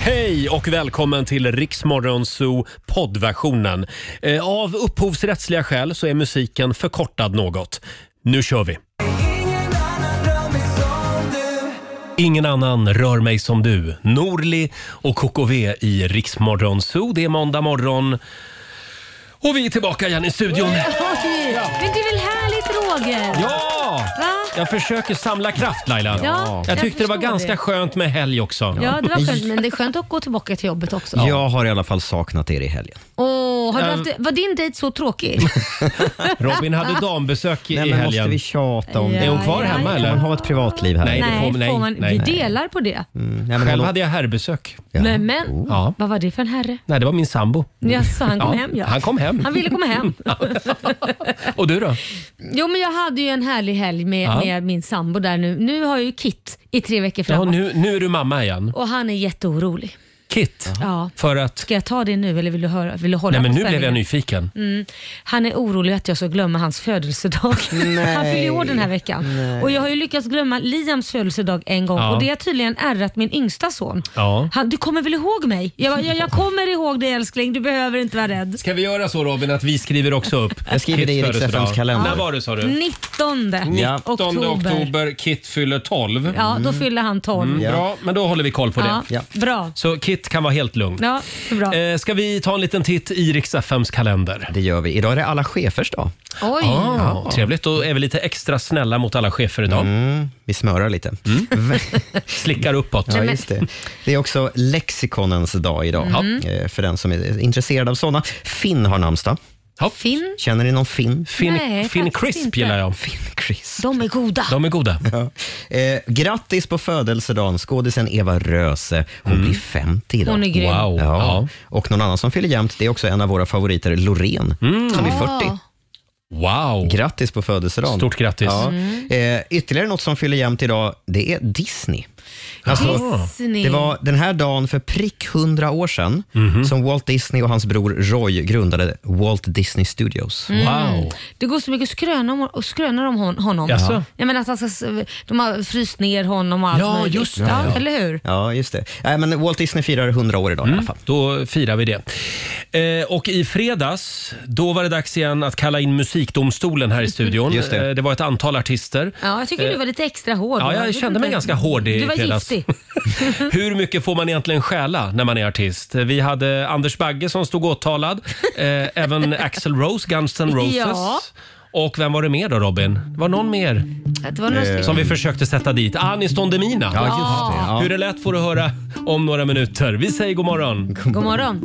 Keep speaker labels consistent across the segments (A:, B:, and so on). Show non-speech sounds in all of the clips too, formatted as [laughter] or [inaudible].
A: Hej och välkommen till Riksmorgon Zoo poddversionen. Eh, Av upphovsrättsliga skäl så är musiken förkortad något. Nu kör vi! Ingen annan rör mig som du. Norli och KKV i Riksmorgon Zoo. Det är måndag morgon. Och vi är tillbaka igen i studion.
B: Oj, Men det är väl härligt Roger?
A: Ja!
B: Va?
A: Jag försöker samla kraft Laila.
B: Ja,
A: jag
B: jag
A: tyckte det var
B: förstår
A: ganska
B: det.
A: skönt med helg också.
B: Ja, det var skönt. Men det är skönt att gå tillbaka till jobbet också.
C: Jag har i alla fall saknat er i helgen.
B: Åh, har du haft, var din dejt
A: [laughs]
B: så tråkig?
A: Robin hade dambesök i,
C: Nej,
A: i
C: men
A: helgen.
C: måste vi tjata om
B: Ja,
C: det?
A: Är hon kvar
B: ja,
A: hemma
B: ja.
A: eller?
C: Man har ett privatliv här.
A: Nej, det får- nej, nej.
B: Vi delar på det.
C: Mm, nej, men
A: Själv
C: hon-
A: hade jag herrbesök.
C: Ja.
B: Men, men
A: Ja.
B: vad var det för en herre?
A: Nej, det var min sambo.
B: Jaså, han kom
A: Ja,
B: hem ja.
A: han kom hem.
B: Han ville
A: [laughs]
B: komma hem.
A: Och du då?
B: Jo men jag hade ju en härlig helg med,
A: Ja.
B: med min sambo där nu. Nu har jag ju Kit i tre veckor
A: Ja,
B: framåt.
A: nu, nu är du mamma igen.
B: Och han är jätteorolig.
A: Kit.
B: Ja.
A: För att...
B: Ska jag ta det nu eller vill du, höra, vill du hålla
A: Nej, men
B: på Mm.
A: nu blev jag
B: spänningen?
A: nyfiken.
B: Han är orolig att jag ska glömma hans födelsedag. [laughs] Han fyller ju år den här veckan. Och jag har ju lyckats glömma Liams födelsedag en gång
A: Ja.
B: och det har tydligen ärrat min yngsta son.
A: Ja.
B: Han, du kommer väl ihåg mig? Jag, bara, jag, jag kommer ihåg dig älskling, du behöver inte vara rädd.
A: Ska vi göra så Robin att vi skriver också upp
B: [laughs]
C: Jag skriver det i
A: Kits
C: Rix
A: födelsedag?
C: FM:s kalender.
A: När var det sa du?
B: 19
C: Ja.
A: 19
B: Mm, oktober.
A: oktober, Kit fyller 12.
B: Ja, då fyller han 12.
C: Ja.
A: Bra, men då håller vi koll på
B: Ja,
A: det.
C: Mm. Ja.
B: Bra.
A: Så Kit kan vara helt lugn.
B: Ja, så bra.
A: Eh, ska vi ta en liten titt i Rix FM:s kalender?
C: Det gör vi. Idag är det alla chefers dag.
B: Oj.
A: Ah, trevligt, då är vi lite extra snälla mot alla chefer idag.
C: Mm, vi smörar lite.
A: Mm. Slickar uppåt.
C: Ja, just det. det är också lexikonens dag idag,
A: Mm.
C: eh, för den som är intresserad av såna. Finn har namnsdag.
A: Ja.
B: Finn,
C: Känner ni någon Finn?
A: Finn,
B: Nej,
A: Finn
B: faktiskt
A: Crisp
B: inte.
A: gillar jag.
C: Finn Chris.
B: de är goda.
A: De är goda.
C: Ja. Eh, grattis på födelsedagen, skådisen Eva Röse. Hon blir 50 idag.
B: Hon är grym.
A: Mm. Wow.
C: Ja.
A: Ja.
C: Och någon annan som fyller jämnt, det är också en av våra favoriter, Loreen,
A: Mm.
C: som är 40.
A: Wow!
C: Grattis på födelsedagen.
A: Stort grattis. Mm.
C: Ja. Eh, ytterligare något som fyller jämnt idag, det är Disney. Alltså,
B: Disney.
C: det var den här dagen för prick 100 år sedan
A: Mhm.
C: som Walt Disney och hans bror Roy grundade Walt Disney Studios.
B: Mm.
A: Wow!
B: Det går så mycket skrönor om, och skrönor om hon, honom.
A: Jaså?
B: Jag menar att han ska, de har fryst ner honom och allt
A: Ja,
B: möjligt.
A: just det.
B: Ja,
A: Ja.
B: Eller hur?
C: Ja, just det. Nej, men Walt Disney firar 100 år idag i
A: Mm.
C: alla fall.
A: Då firar vi det. Eh, och i fredags, då var det dags igen att kalla in musikdomstolen här i
C: [laughs]
A: studion.
C: Just det.
A: Eh, det var ett antal artister.
B: Ja, jag tycker du var lite extra hård.
A: Eh, Ja, jag
B: vet
A: kände mig
B: inte.
A: ganska hård i
B: Du var
A: fredags.
B: giftig.
A: Hur mycket får man egentligen stjäla när man är artist? Vi hade Anders Bagge som stod åtalad, eh,
C: [laughs]
A: även Axl Rose, Guns N' Roses.
B: Ja.
A: Och vem var det mer då Robin? Det var någon mer
B: Att Det var någon
A: som vi försökte sätta dit. Anis Don Demina.
C: Mm. just det.
A: Hur det lät får du höra om några minuter. Vi säger god morgon.
B: som... God morgon.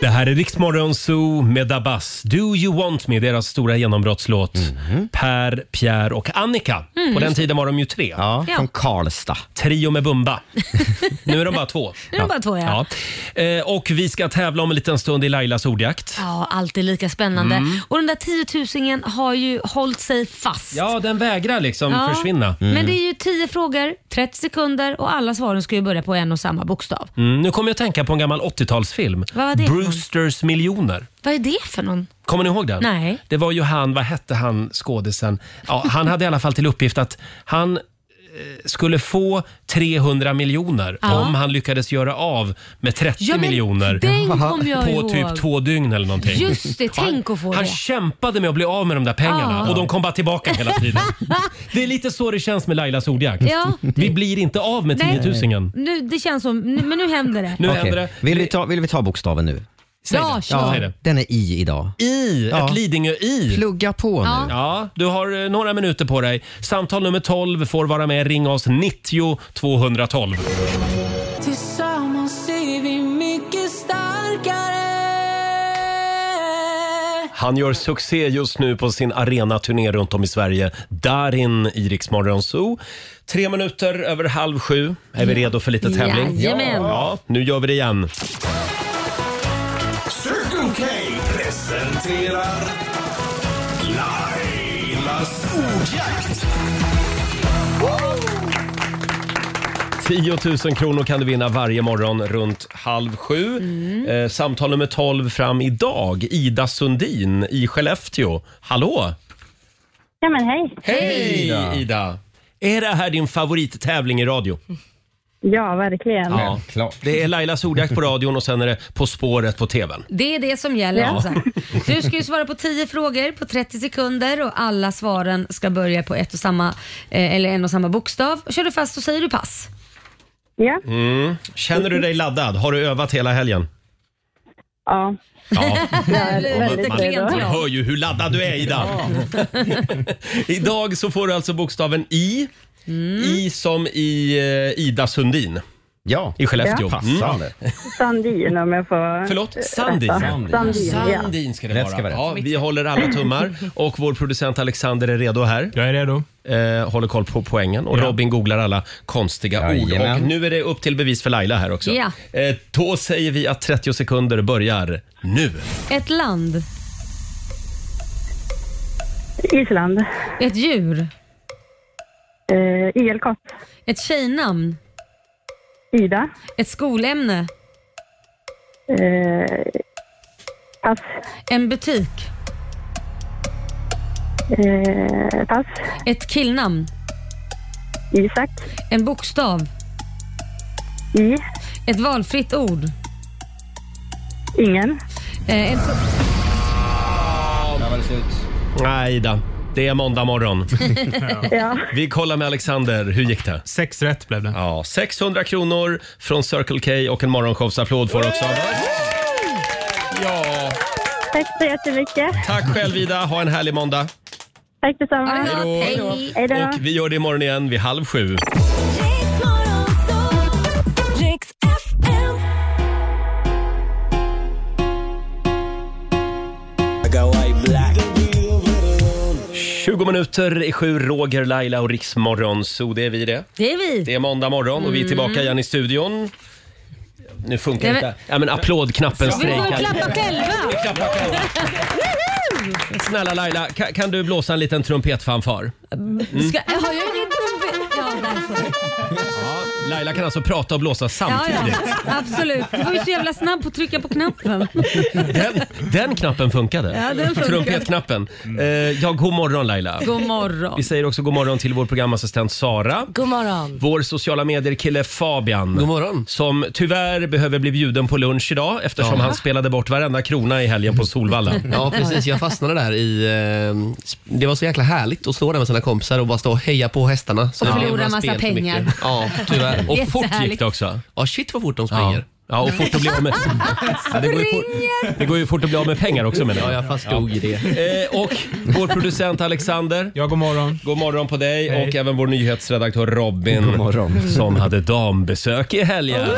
A: Det här är Riksmorgon Zoo med Dabas. Do you want me? Deras stora genombrottslåt. Per, Pierre och Annika.
B: Mm.
A: På den tiden var de ju tre.
C: Ja,
B: Ja.
C: från Karlstad.
A: Trio med Bumba. nu är de bara två.
B: Nu är det bara två ja. ja.
A: Ja. Eh, och vi ska tävla om en liten stund i Lailas ordjakt.
B: alltid lika spännande.
A: Mm.
B: Och den där tiotusingen har ju hållit sig fast.
A: Ja, den vägrar liksom
B: Ja.
A: försvinna.
B: Men det är ju 10 frågor, 30 sekunder och alla svaren ska ju börja på en och samma bokstav.
A: Mm, nu kommer jag att tänka på en gammal 80-talsfilm.
B: Vad var det för någon?
A: Brewsters miljoner.
B: Vad är det för någon?
A: Kommer ni ihåg den?
B: Nej.
A: Det var ju han, vad hette han skådisen? Ja, han hade i alla fall till uppgift att han eh, skulle få 300 miljoner
B: Ja.
A: om han lyckades göra av med 30
B: Ja, men
A: miljoner
B: Den kommer jag
A: på
B: ihåg.
A: typ två dygn eller någonting.
B: Just det, tänk att få
A: Han
B: det.
A: kämpade med att bli av med de där pengarna
B: Ja.
A: och de kom bara tillbaka hela
B: [laughs]
A: tiden. Det är lite så det känns med Lailas ordjakt.
B: Ja.
A: Vi blir inte av med
B: Nej.
A: 10 000.
B: Nu, det känns som, nu, men nu händer det.
A: Nu händer
C: Okay.
A: det.
C: Vill, vi ta, vill vi ta bokstaven nu?
A: Säg
B: Ja,
A: det.
B: kör.
A: Säg det.
C: Den är i idag.
A: I,
C: Ja.
A: ett Lidingö-i.
C: Plugga på nu.
B: Ja.
A: Ja, du har eh, några minuter på dig. Samtal nummer 12 får vara med. Ring oss 90 212.
D: Tillsammans är vi mycket starkare
A: Han gör succé just nu på sin arenaturné runt om i Sverige. Darin i Rix Morgon Zoo. Tre minuter över halv sju. Är vi redo för lite tävling?
B: Jajamän.
A: Ja, nu gör vi det igen.
E: Circle K presenterar Lailas ordjakt.
A: 10 000 kronor kan du vinna varje morgon runt halv sju. Eh, samtal nummer 12 fram idag. Ida Sundin i Skellefteå. Hallå!
F: Ja men hej.
A: Hej Ida! Är det här din favorittävling i radio?
F: Ja, verkligen.
C: klart.
A: Det är Lailas ordjakt på radion och sen är det På spåret på TVn.
B: Det är det som gäller.
A: Ja.
B: Alltså. Du ska ju svara på 10 frågor på 30 sekunder och alla svaren ska börja på ett och samma, eh, eller en och samma bokstav. Kör du fast så säger du pass.
F: Ja.
A: Mm. Känner du dig laddad? Har du övat hela helgen?
F: ja.
A: Ja.
F: Jag är väldigt
A: Man,
F: redo.
A: man hör ju hur laddad du är Ida. [laughs] Idag så får du alltså bokstaven I.
F: Mm.
A: I som i eh, Ida Sundin.
C: Ja.
A: I Skellefteå.
C: Ja. Passande.
F: Sandin om jag får
A: Förlåt?
F: rätta.
A: Sandin.
F: Sandin, ja.
A: Sandin ska det
C: Rätt
A: vara.
C: ska vara rätt.
A: ja, vi håller alla tummar och vår producent Alexander är redo här.
G: Jag är redo.
A: Eh, håller koll på poängen och
G: Ja.
A: Robin googlar alla konstiga ord.
C: Jajamän.
A: Och nu är det upp till bevis för Laila här också.
B: Ja.
A: Eh, då säger vi att 30 sekunder börjar nu.
B: Ett land,
F: Island.
B: ett djur,
F: Eh, IL-kott.
B: ett tjejnamn,
F: Ida.
B: ett skolämne,
F: Eh, pass.
B: en butik,
F: Eh, pass.
B: ett killnamn,
F: Isak.
B: en bokstav,
F: I.
B: ett valfritt ord.
F: Ingen.
B: Eh, en so-
C: Där var det slut.
A: Nej Ida, det är
G: [laughs]
A: måndag morgon.
F: Ja. [laughs]
A: Vi kollar med Alexander, hur gick det?
G: Sex rätt blev det.
A: Ja, 600 kronor från Circle K och en morgonshowsapplåd får du också. Ja,
F: Tack så jättemycket.
A: tack själv Ida, ha en härlig måndag.
F: Tack detsamma.
B: Ja, hej.
F: Hej då.
A: Och vi gör det imorgon igen vid halv sju.
D: Riks FM.
E: I got white black.
A: 20 minuter i sju, Roger, Laila och Riksmorgon. Så det är vi det.
B: Det är vi.
A: Det är måndag morgon och vi är tillbaka igen i studion. Nu funkar
B: Ja, Mm. men-
A: inte... Ja, men applådknappen
B: Vi får ju
A: strejkar.
B: klappa själva.
A: Klappa själva. Snälla Laila, kan, kan du blåsa en liten trumpetfanfar?
B: Ska, har jag ingen trumpet? Ja, därför.
A: Laila kan alltså prata och blåsa
B: Ja,
A: samtidigt.
B: ja. Absolut. Du var ju så jävla snabb på att trycka på knappen.
A: Den, den knappen funkade.
B: Ja, den funkade. Mm.
A: Trumpetknappen. Eh, ja, god morgon Laila.
B: God morgon.
A: Vi säger också god morgon till vår programassistent Sara.
H: God morgon.
A: Mm. Vår sociala medier-kille Fabian.
I: God morgon.
A: Som tyvärr behöver bli bjuden på lunch idag eftersom han spelade bort varenda krona i helgen på Solvalla.
I: Ja, precis. Jag fastnade där i... Eh, det var så jäkla härligt att stå där med sina kompisar och bara stå och heja på hästarna. Så
B: Och
I: det blev
B: förlora
I: några
B: massa
I: spel för
B: pengar.
I: mycket. Ja, tyvärr. Och,
A: [laughs] Och fort gick
B: Jättehärligt.
A: det också.
I: ja, shit vad fort de
A: Ja.
I: springer.
A: Ja, och fort att bli
I: [laughs]
A: av med... Ja, det, går ju fort, det går ju fort att bli av med pengar också menar
I: Ja,
A: jag.
I: jag faststod i det.
A: Eh, och vår producent Alexander.
G: Ja, god morgon.
A: God morgon på dig
G: Hej.
A: och även vår nyhetsredaktör Robin. Som hade dambesök i helgen.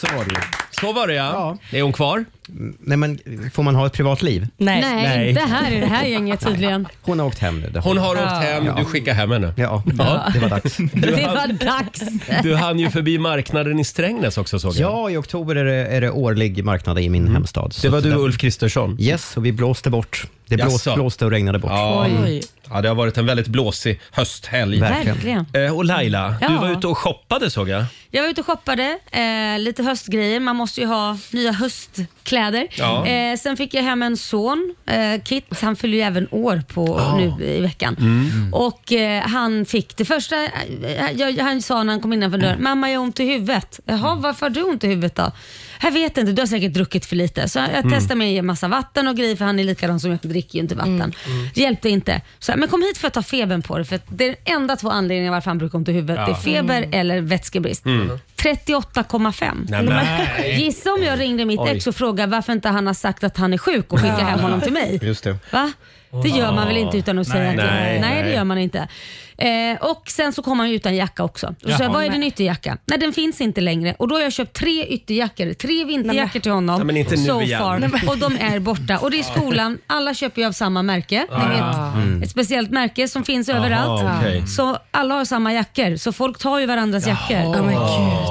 C: Så var det ju.
A: Så var det ja.
C: Ja.
A: Är hon kvar?
C: Mm. Nej, men får man ha ett privatliv?
H: Nej.
B: Nej,
A: Nej.
B: inte här i det här
A: [laughs]
B: gänget tydligen.
C: Hon har åkt hem nu. det
A: Hon har
B: Ja.
A: åkt hem, du skickar hem henne.
C: Ja, det var dags.
B: Det var dags.
A: Du hann ju förbi marknaden i Strängnäs också såg
C: [laughs]
A: jag.
C: Ja, i oktober är det, är det årlig marknad i min hemstad. Så
A: Det var du
C: där-
A: och Ulf Kristersson.
C: Yes, och vi blåste bort. Det blåste,
A: Jaså?
C: blåste och regnade bort.
A: Ja.
H: Oj.
A: ja, det har varit en väldigt blåsig hösthelg.
B: Verkligen.
A: Eh, Och Laila,
B: Ja.
A: du var ute och shoppade såg jag.
B: Jag var ute och shoppade, eh, lite höstgrejer. Man måste ju ha nya höstkläder.
A: Ja.
B: Eh, sen fick jag hem en son, eh, Kit. Han fyller ju även år på,
A: Ah.
B: nu i veckan.
A: Mm.
B: Och eh, han fick det första, eh, jag, han sa när han kom innanför
A: Mm.
B: dörren, mamma jag har ont i huvudet. Jaha, varför har du ont i huvudet då? Jag vet inte, du har säkert druckit för lite. Så jag
A: Mm.
B: testade med att ge massa vatten och grejer för han är likadan som jag, dricker ju inte vatten.
A: Mm.
B: Det hjälpte inte. Så, jag, men kom hit för att ta febern på dig för att det är den enda två anledningarna varför han brukar ont i huvudet. Det är feber eller vätskebrist. 38,5.
A: Mm. Nej, men,
B: Gissa om jag ringde mitt
A: Oj.
B: ex och frågade varför inte han har sagt att han är sjuk och skickat hem honom till mig.
C: Just det.
B: Va? Det gör man väl inte utan att säga att
A: Nej,
B: nej, nej, det
A: nej.
B: gör man inte. Eh, och sen så kom han ju utan jacka också. Och så sa jag, vad är din ytterjacka? Nej den finns inte längre. Och då har jag köpt tre ytterjackor, tre vinterjackor till honom.
A: Nej, men inte nu
B: so
A: igen. Nej,
B: far. Och de är borta. Och det är skolan, alla köper ju av samma märke. Ni vet, ett speciellt märke som finns överallt.
A: Ah. okej.
B: Så alla har samma jackor. Så folk tar ju varandras jackor.
H: Oh my God.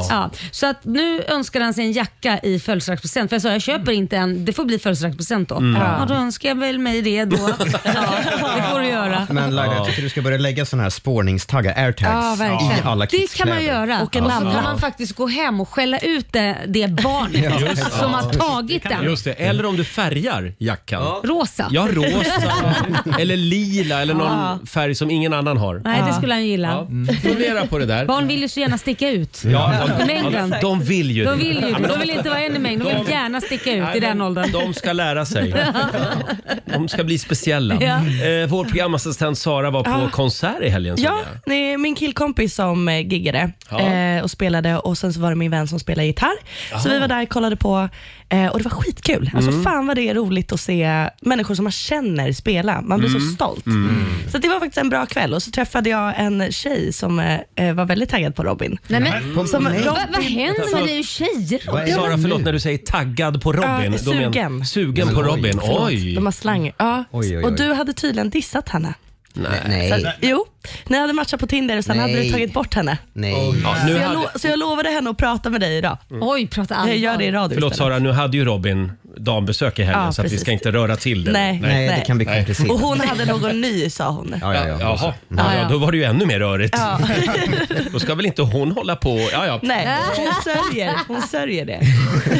B: Ja, så att nu önskar han sig en jacka i födelsedagspresent. För jag sa jag köper
A: Mm.
B: inte en, det får bli födelsedagspresent då.
A: [laughs]
B: Ja, då önskar jag väl mig det då. Ja, det får du göra.
C: Men Laila, jag tycker du ska börja lägga sådana här spårningstaggar, airtags, i alla
B: det kan man
C: kidskläder.
B: göra. Och,
G: en
B: så
G: lampa.
B: kan man faktiskt gå hem och skälla ut det, det barnet
A: Just det.
B: som har tagit den.
A: Just det, eller om du färgar jackan.
B: Rosa.
A: Ja, rosa eller lila eller någon färg som ingen annan har.
B: Ah. Nej, det skulle han gilla.
A: Ja, fundera på det där.
B: Barn vill ju så gärna sticka ut.
A: Ja,
B: I
A: de,
B: mängden.
A: de, de vill ju
B: De
A: det.
B: vill ju
A: Ja, men
B: De vill inte vara en i mängden. De vill gärna sticka ut i den åldern.
A: De ska lära
B: [laughs]
A: sig. De ska bli speciella.
B: Ja. Ah.
A: Eh, vår programassistent Sara var på konsert i helgen. såg
G: Ja, nej, min killkompis som eh, giggade
A: Ja.
G: eh, och spelade och sen så var det min vän som spelade gitarr. Så vi var där och kollade på eh, och det var skitkul. Alltså,
C: Mm.
G: Fan vad det är roligt att se människor som man känner spela. Man blir
C: Mm.
G: så stolt. Så det var faktiskt en bra kväll och så träffade jag en tjej som eh, var väldigt taggad på Robin.
B: Nej, men,
G: Som,
B: vad, vad händer med dig och tjejer?
C: Vad
A: jag.
C: är
A: Sara,
C: det
A: förlåt
C: nu?
A: när du säger taggad på Robin.
G: Ja,
A: Då men-
G: sugen.
A: Sugen på
C: Oj,
A: Robin.
G: Förlåt,
A: Oj!
G: De har slang. Ja.
C: Oj, oj, oj.
G: Och du hade tydligen dissat henne.
C: Nej,
G: Jo, ni hade matchat på Tinder och sen hade du
C: Nej.
G: tagit bort henne.
C: nej.
A: Ja,
G: Så
A: nu
G: jag,
A: hade,
G: lo- så jag lovade henne att prata med dig idag.
C: Mm.
B: Mm. Oj, prata
G: Jag gör det i
B: allvar.
G: radio
A: förlåt
G: istället.
A: Sara, nu hade ju Robin dambesök i helgen
G: Ja,
A: så att vi
G: precis.
A: ska inte röra till det.
G: Nej,
C: Nej, det kan bli
A: Nej.
G: Och
C: komplicerat.
G: hon hade någon ny sa hon.
C: Ja, ja, ja.
A: Jaha, ja, ja, då var det ju ännu mer rörigt.
G: Ja.
A: Då ska väl inte hon hålla på. Ja, ja.
G: Nej, hon sörjer, hon sörjer det.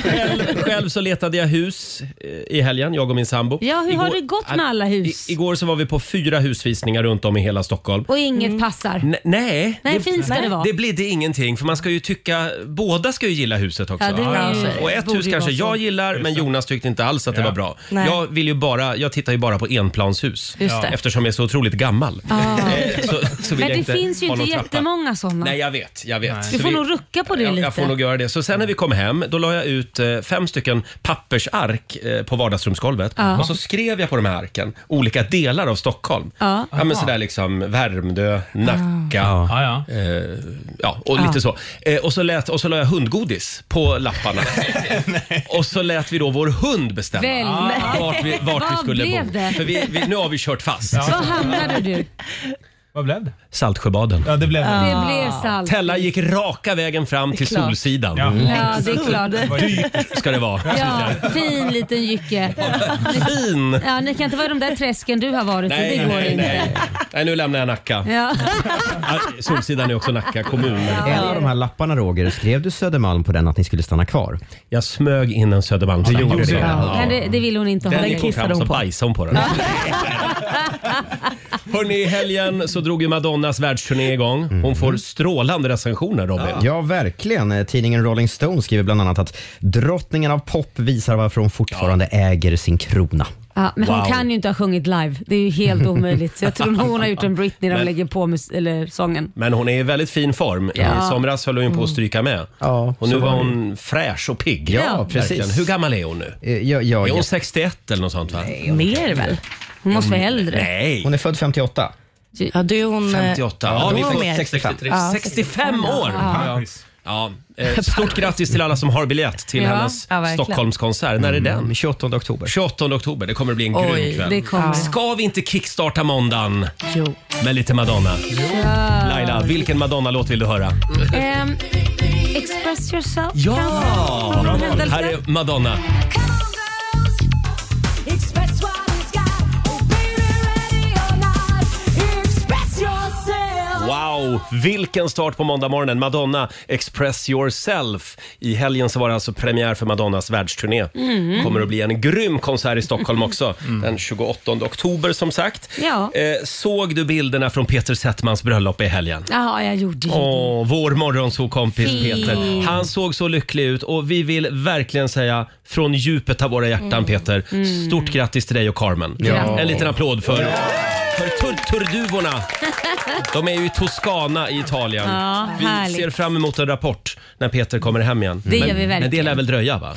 A: Själv, själv så letade jag hus eh, i helgen, jag och min sambo.
B: Ja, hur har det gått med alla hus?
A: I, igår så var vi på fyra husvisningar runt om i hela Stockholm.
B: Och inget passar.
A: N- nej,
B: Nej, fint ska det vara.
A: Mm. det blidde ingenting för man ska ju tycka, båda ska ju gilla huset också.
B: Ja, det är ju-
A: och ett
B: borde
A: hus
B: ju
A: kanske
B: vara så.
A: jag gillar men Jonas tyckte inte alls att det var bra.
G: Nej.
A: Jag, vill ju bara, jag tittar ju bara på enplanshus
B: Just det. Ah.
A: eftersom jag är så otroligt gammal. Eh, [laughs] Så, så vill
B: Men
A: jag
B: det
A: inte
B: finns ju
A: ha
B: inte
A: någon trappa.
B: jättemånga sådana.
A: Nej, jag vet. Jag vet.
B: Du
A: Så
B: får
A: vi-
B: nog rucka på det
A: jag,
B: lite.
A: Jag får nog göra det. Så sen när vi kom hem, då la jag ut eh, fem stycken pappersark eh, på vardagsrumsgolvet. Och så skrev jag på de här arken olika delar av Stockholm.
B: Ja.
A: men sådär liksom Värmdö, Nacka. Ja.
H: Ja, ja.
A: Eh, ja, och lite så. Eh, och, så lät, och så la jag hundgodis på
B: [laughs]
A: lapparna. och så lät vi då vår hund bestämma Ah.
B: Väl-
A: vart vi, vart vi
B: Vad
A: skulle
B: blev
A: bo.
B: det?
A: För vi, vi, nu har vi kört fast.
B: Var hamnade du?
H: Vad blev det?
A: Saltsjöbaden.
H: Ja, det blev det.
B: Det blev salt.
A: Tella gick raka vägen fram till
G: klart.
A: Solsidan.
H: Ja.
B: Ja, det är klart.
A: Dyrt ska det vara.
B: Ja, fin liten jycke.
A: Fin!
B: Ja, ni kan inte vara i de där träsken du har varit i.
A: Nej,
B: Det går
A: nej,
B: inte.
A: nej. nej, nu lämnar jag Nacka.
B: Ja.
A: Ah, Solsidan är också Nacka kommun.
C: En av de här lapparna Roger, skrev du Södermalm på den att ni skulle stanna kvar?
A: Jag smög in en Södermalmslapp.
C: Du gjorde det.
A: Ja.
B: Men det, det vill hon inte ha.
A: Den gick
B: längre.
A: hon fram och så bajsade hon på den. Hörrni, i helgen så drog ju Madonnas världsturné igång. Hon får strålande recensioner Robin.
C: Ja, verkligen. Eh, Tidningen Rolling Stone skriver bland annat att drottningen av pop visar varför hon fortfarande äger sin krona.
B: Ja, men
A: Wow.
B: hon kan ju inte ha sjungit live. Det är ju helt omöjligt. Så jag tror nog hon har gjort en Britney när
A: Men-
B: de lägger på mus- eller sången.
A: Men hon är i väldigt fin form. I
B: Ja.
A: somras höll hon ju på att stryka med.
C: Ja,
A: och nu
C: så
A: var
C: var det.
A: hon fräsch och pigg.
C: Ja,
A: Verkligen.
C: precis.
A: Hur gammal är hon nu?
C: Eh, Jag, jag,
A: Är hon 61 eller något sånt va?
G: Mer väl?
B: Hon måste vara äldre.
A: Nej.
C: hon är född 58.
G: Ja, du är hon... eh,
A: 58. Ja,
G: då
A: vi
G: var
A: får
G: mer.
A: 65.
G: Ja,
A: 65 år! Ja. Ja. eh, Stort grattis till alla som har biljett till
B: Ja.
A: hennes
G: Ja, verkligen.
A: Stockholmskonsert. När är den?
C: 28 oktober.
A: 28 oktober. Det kommer att bli en
G: Oj,
A: grym kväll.
B: Det kommer.
A: Ska vi inte kickstarta måndagen
G: Jo.
A: med lite Madonna? Laila, vilken Madonna-låt vill du höra?
B: Ehm, express yourself.
A: Ja!
B: Någon händelse?
A: Här är Madonna.
D: Come on, girls, express what it's got. Oh, baby, ready or not, express yourself.
A: Wow, vilken start på måndagmorgonen. Madonna, Express yourself. I helgen så var det alltså premiär för Madonnas världsturné.
B: Mm.
A: kommer att bli en grym konsert i Stockholm också. Den 28 oktober som sagt.
B: Ja.
A: Eh, såg du bilderna från Peter Settmans bröllop i helgen?
B: Ja, jag gjorde ju det.
A: Åh, vår morgonsokompis
B: Fint.
A: Peter. Han såg så lycklig ut och vi vill verkligen säga från djupet av våra hjärtan Peter, stort grattis till dig och Carmen.
B: Mm. Ja.
A: En liten applåd för, för tur turduvorna. De är ju i Toscana i Italien.
B: Ja,
A: vi
B: härligt.
A: ser fram emot en rapport när Peter kommer hem igen.
B: Det
A: men,
B: gör vi verkligen.
A: Men det lär väl dröja va?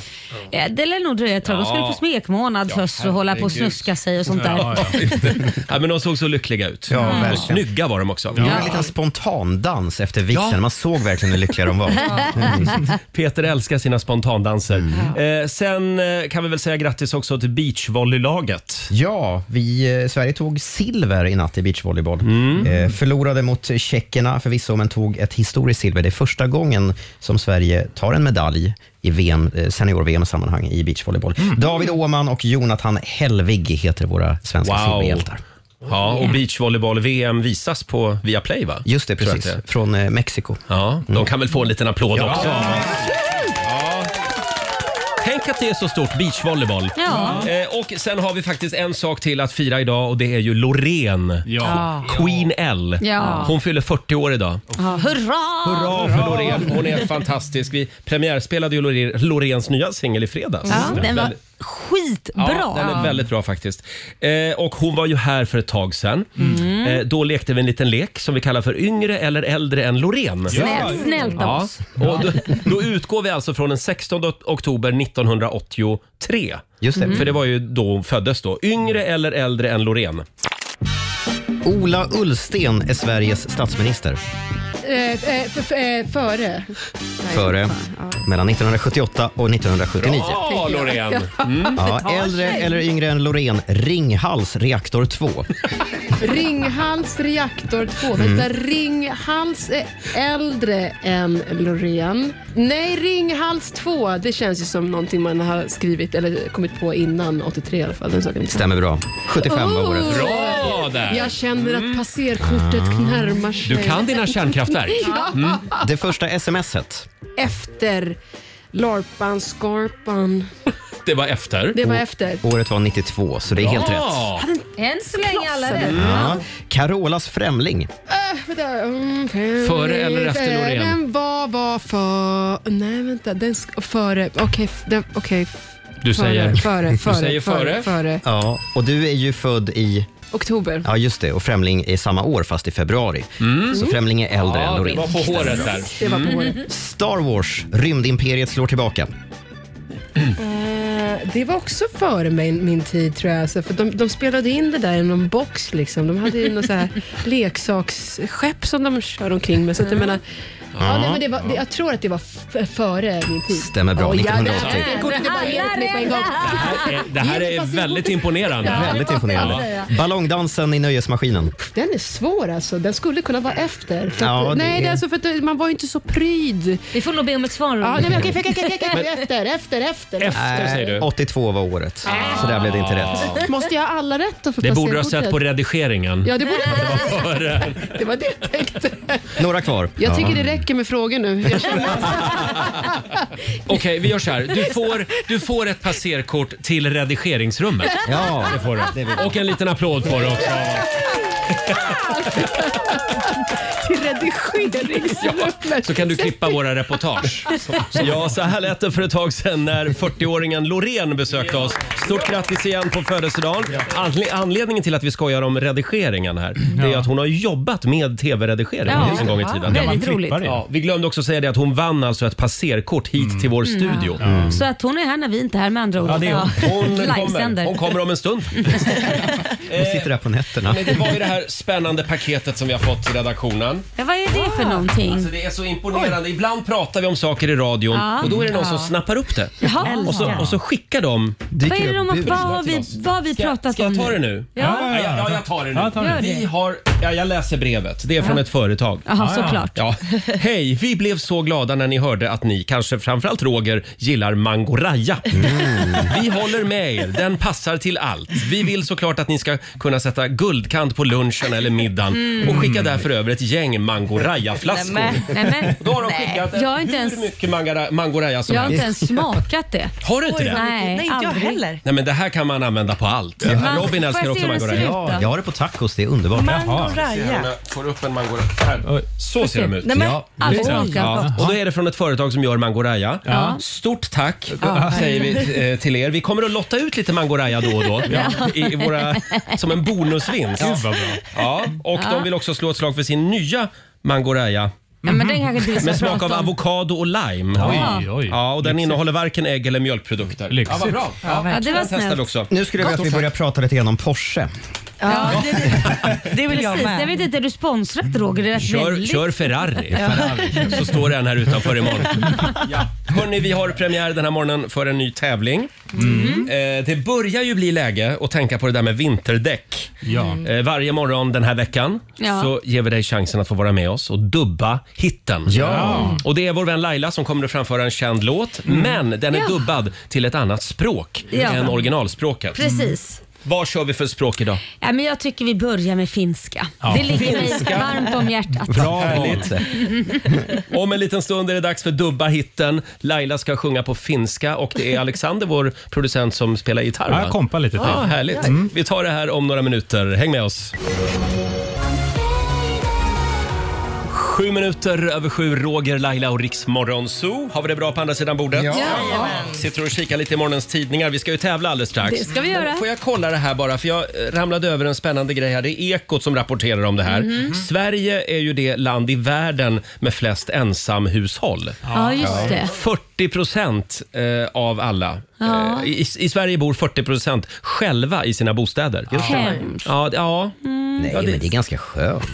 B: Eh, Det lär nog dröja ett tag. De skulle
A: Ja.
B: på smekmånad först och hålla på och
A: herregud.
B: snuska sig och sånt där.
H: Ja, ja.
A: [laughs] ja, men de såg så lyckliga ut.
C: Ja, verkligen.
A: och snygga var de också.
C: Det var en liten spontan dans efter vigseln.
A: Ja.
C: Man såg verkligen hur lyckliga de var.
A: Peter älskar sina spontandanser. Eh, sen eh, kan vi väl säga grattis också till beachvolleylaget.
C: Ja, vi, eh, Sverige tog silver i natt i beachvolleyboll. Eh, förlorade mot tjeckerna förvisso, men tog ett historiskt silver. Det är första gången som Sverige tar en medalj i VM, eh, senior-VM-sammanhang i beachvolleyboll. David Åhman och Jonathan Hellvig heter våra svenska silverhjältar.
A: Ja,
B: Mm.
A: och beachvolleyboll-VM visas på Viaplay va?
C: Just det,
A: Tror jag
C: precis.
A: att det är.
C: Från eh, Mexiko.
A: Ja, de kan väl få en liten applåd också av oss. Ja. Tänk att det är så stort, beachvolleyboll.
B: Ja.
A: Eh, och sen har vi faktiskt en sak till att fira idag och det är ju Loreen.
H: Ja.
A: Queen L.
B: Ja.
A: Hon fyller 40 år idag.
B: Ja, hurra!
A: Hurra för Loreen, hon är fantastisk. Vi premiärspelade ju Lore- Loreens nya singel i fredags.
B: Ja, den var
A: Väldigt-
B: skitbra.
A: Ja, den är väldigt bra faktiskt. Eh, och hon var ju här för ett tag sedan. Eh, då lekte vi en liten lek som vi kallar för yngre eller äldre än Loreen.
B: Snällt, snällt av
A: Ja,
B: oss.
A: och då, då utgår vi alltså från den 16 oktober 1983.
C: Just det.
A: För det var ju då hon föddes då. Yngre eller äldre än Loreen?
C: Ola Ullsten är Sveriges statsminister.
J: eh, före.
C: Före mellan 1978 och 1979.
A: Ja, Loreen!
C: Ja, äldre eller yngre än Loreen, Ringhals reaktor 2.
J: Ringhals reaktor 2.
A: Mm.
J: Vänta, Ringhals är äldre än Loreen. Nej, Ringhals 2. Det känns ju som någonting man har skrivit eller kommit på innan 83 i alla fall. Den saken är inte-
C: Stämmer bra. 75 var året.
A: Oh. Bra där!
J: Jag känner att passerkortet närmar sig.
A: Ah. Du kan dina kärnkraftverk.
C: Det första smset.
J: Efter Larpan, Skarpan.
A: Det var efter.
J: Det var efter.
A: Oh.
C: Året var 92, så det är helt rätt.
A: Ja.
B: Än så länge alla rätt.
C: Ja. Carolas främling.
J: Vänta, mm, fem,
A: Före eller efter
J: eh,
A: Loreen?
J: Den var, var för... Nej, vänta. Den sk- före. Okej, f- den- okej.
A: Du
J: före,
A: säger...
J: Före, före,
A: säger före.
J: före, före.
C: Ja, och du är ju född i...
J: Oktober.
C: Ja, just det. Och Främling är samma år, fast i februari. Så Främling är äldre än
A: mm. Ja, det
C: Loreen.
A: var på håret där.
J: Det var på året.
C: Star Wars, Rymdimperiet slår tillbaka.
A: Mm.
J: Eh, Det var också före min, min tid tror jag. Så för de, de spelade in det där i någon box. Liksom. De hade ju något så
A: [laughs]
J: här leksaksskepp som de kör omkring med. Så att jag
A: Mm.
J: menar, ja, nej, men det var, det, jag tror att det var f- före min tid.
C: Stämmer bra,
J: Åh,
C: 1980.
J: jävlar, det går inte bara att hjälpa mig på en gång.
A: Eh, Det här är väldigt imponerande.
C: Väldigt imponerande. Ballongdansen i nöjesmaskinen.
J: Den är svår alltså. Den skulle kunna vara efter. För
C: Ja,
J: att,
C: det
J: Nej,
C: är-
J: det är alltså för att det- man var ju inte så
A: [laughs]
J: pryd.
B: Vi får nog be om ett svar.
J: Ja, nej, men okej, okej, okej, okej, okej, efter, efter, efter.
A: Efter säger du.
C: 82 Eh, var året, så där blev det inte rätt.
J: Måste jag ha alla rätt då för
A: Det borde du ha sett
J: passerkortet?
A: på redigeringen. eh,
J: Ja, det borde
A: [laughs]
J: Det var det jag tänkte.
C: Några kvar.
J: Jag tycker det räcker med frågor nu. Jag känner att
A: Okej, vi gör så här. Du får, du får ett passerkort till redigeringsrummet.
C: Ja,
A: Det får du. Och en liten applåd får du också.
J: [laughs] till redigeringsrummet.
A: Så kan du klippa våra reportage. Ja, så här lät det för ett tag sedan när 40-åringen Loreen besökte oss. Stort grattis igen på födelsedagen. Anle- anledningen till att vi skojar om redigeringen här, det är att hon har jobbat med tv-redigering en gång i tiden.
H: Kan man
B: Väldigt roligt.
H: klippa det?
A: Ja, vi glömde också säga det att hon vann alltså ett passerkort hit
B: Mm.
A: till vår studio.
B: Så att hon är här när vi inte är här med andra ord.
H: Ja, det är hon.
A: Hon, kommer,
B: Livesänder.
A: hon kommer om en
B: [laughs]
A: stund.
C: hon sitter där på nätterna.
A: Men det var ju det här spännande paketet som vi har fått i redaktionen.
B: Ja, vad är det för någonting?
A: Alltså det är så imponerande. Ibland pratar vi om saker i radion
B: Ja.
A: och då är det någon som snappar upp det.
B: Jaha.
A: Och så, och så skickar de.
B: Vad är det de, vad, har vi, vad har vi pratat
A: Ska jag
B: om
A: ta det nu?
B: Ja,
A: Ja, ja, jag tar det nu.
H: Ja, ta det.
B: Gör det.
A: Vi har, ja, jag läser brevet. Det är från ett företag.
B: Jaha, såklart.
A: Ja. Hej, vi blev så glada när ni hörde att ni, kanske framförallt Roger, gillar Mangoraja.
B: Mm.
A: Vi håller med er, den passar till allt. Vi vill såklart att ni ska kunna sätta guldkant på lunchen eller middagen och skicka därför över ett gäng Mangoraja-flaskor.
G: Nej,
B: Mm. Nej, men,
A: Då har de skickat
B: Jag har inte
A: hur
B: ens-
A: mycket mangara- Mangoraja som
B: jag har
A: helst.
B: inte ens smakat det.
A: Har du inte det?
B: Nej,
G: Nej, inte jag
B: aldrig.
G: heller.
A: Nej men det här kan man använda på allt. Robin
B: Får
A: älskar
B: jag
A: också
B: se hur den ser
A: Mangoraja.
B: ut?
C: Ja, jag har det på tacos, det är underbart.
G: Mango
A: Ser hon-
G: Raja.
A: Får upp en mangoraja. Här. Så ser de ut.
G: Nej, men,
B: Aldrig
A: Ja.
B: smakat.
A: Ja. Och då är det från ett företag som gör mangoraja. Stort tack [laughs] säger vi eh, till er. Vi kommer att lotta ut lite mangoraja då och [laughs] då. I våra, som en bonusvinst.
H: Gud vad bra.
A: Ja. Och de vill också slå ett slag för sin nya mangoraja
B: Ja, men den kanske inte vi ska
A: med smak
B: prata
A: av
B: om.
A: avokado och lime.
H: Oj, oj.
A: Ja, och den innehåller varken ägg eller mjölkprodukter.
H: Lyxigt.
A: Ja, vad bra. Ja.
B: Ja, det var
A: Den testar vi
B: snällt.
A: också.
C: Nu skulle jag vilja att vi börjar prata lite grann om Porsche.
G: ja, det, det, det vill jag
B: Precis, jag vet
G: med.
B: inte, är du sponsrat Roger? Det är rätt
A: Kör,
B: väldigt.
A: kör Ferrari. Så står den här utanför imorgon. Ja. Hörni, vi har premiär den här morgonen för en ny tävling. Eh, det börjar ju bli läge att tänka på det där med vinterdäck.
H: Ja.
A: Eh, varje morgon den här veckan
B: Ja.
A: så ger vi dig chansen att få vara med oss och dubba hitten.
H: Ja.
A: Och det är vår vän Laila som kommer att framföra en känd låt, men den är
B: Ja.
A: dubbad till ett annat språk
B: Ja.
A: än originalspråket.
B: Precis.
A: Vad kör vi för språk idag?
B: Ja, men jag tycker vi börjar med finska. Det ligger mig varmt om hjärtat.
A: Härligt. Om en liten stund är det dags för dubba hitten. Laila ska sjunga på finska och det är Alexander, vår producent, som spelar gitarr.
H: Ja,
A: va?
H: jag Mm. kompar lite till.
A: Ja, härligt. Vi tar det här om några minuter. Häng med oss. Sju minuter över sju, Roger, Laila och Riks Morgonzoo. Har vi det bra på andra sidan bordet?
C: Ja.
A: Sitter och kikar lite i morgonens tidningar. Vi ska ju tävla alldeles strax.
B: Det ska vi göra.
A: Får jag kolla det här bara, för jag eh, ramlade över en spännande grej här. Det är Ekot som rapporterar om det här.
B: Mhm.
A: Mm. Sverige är ju det land i världen med flest ensamhushåll.
B: Ja, just det.
A: 40 procent av alla. eh, I, I Sverige bor 40 procent själva i sina bostäder.
B: Hemskt. Mm.
A: Ja, d- ja.
C: Nej,
A: det-
C: men det är ganska skönt.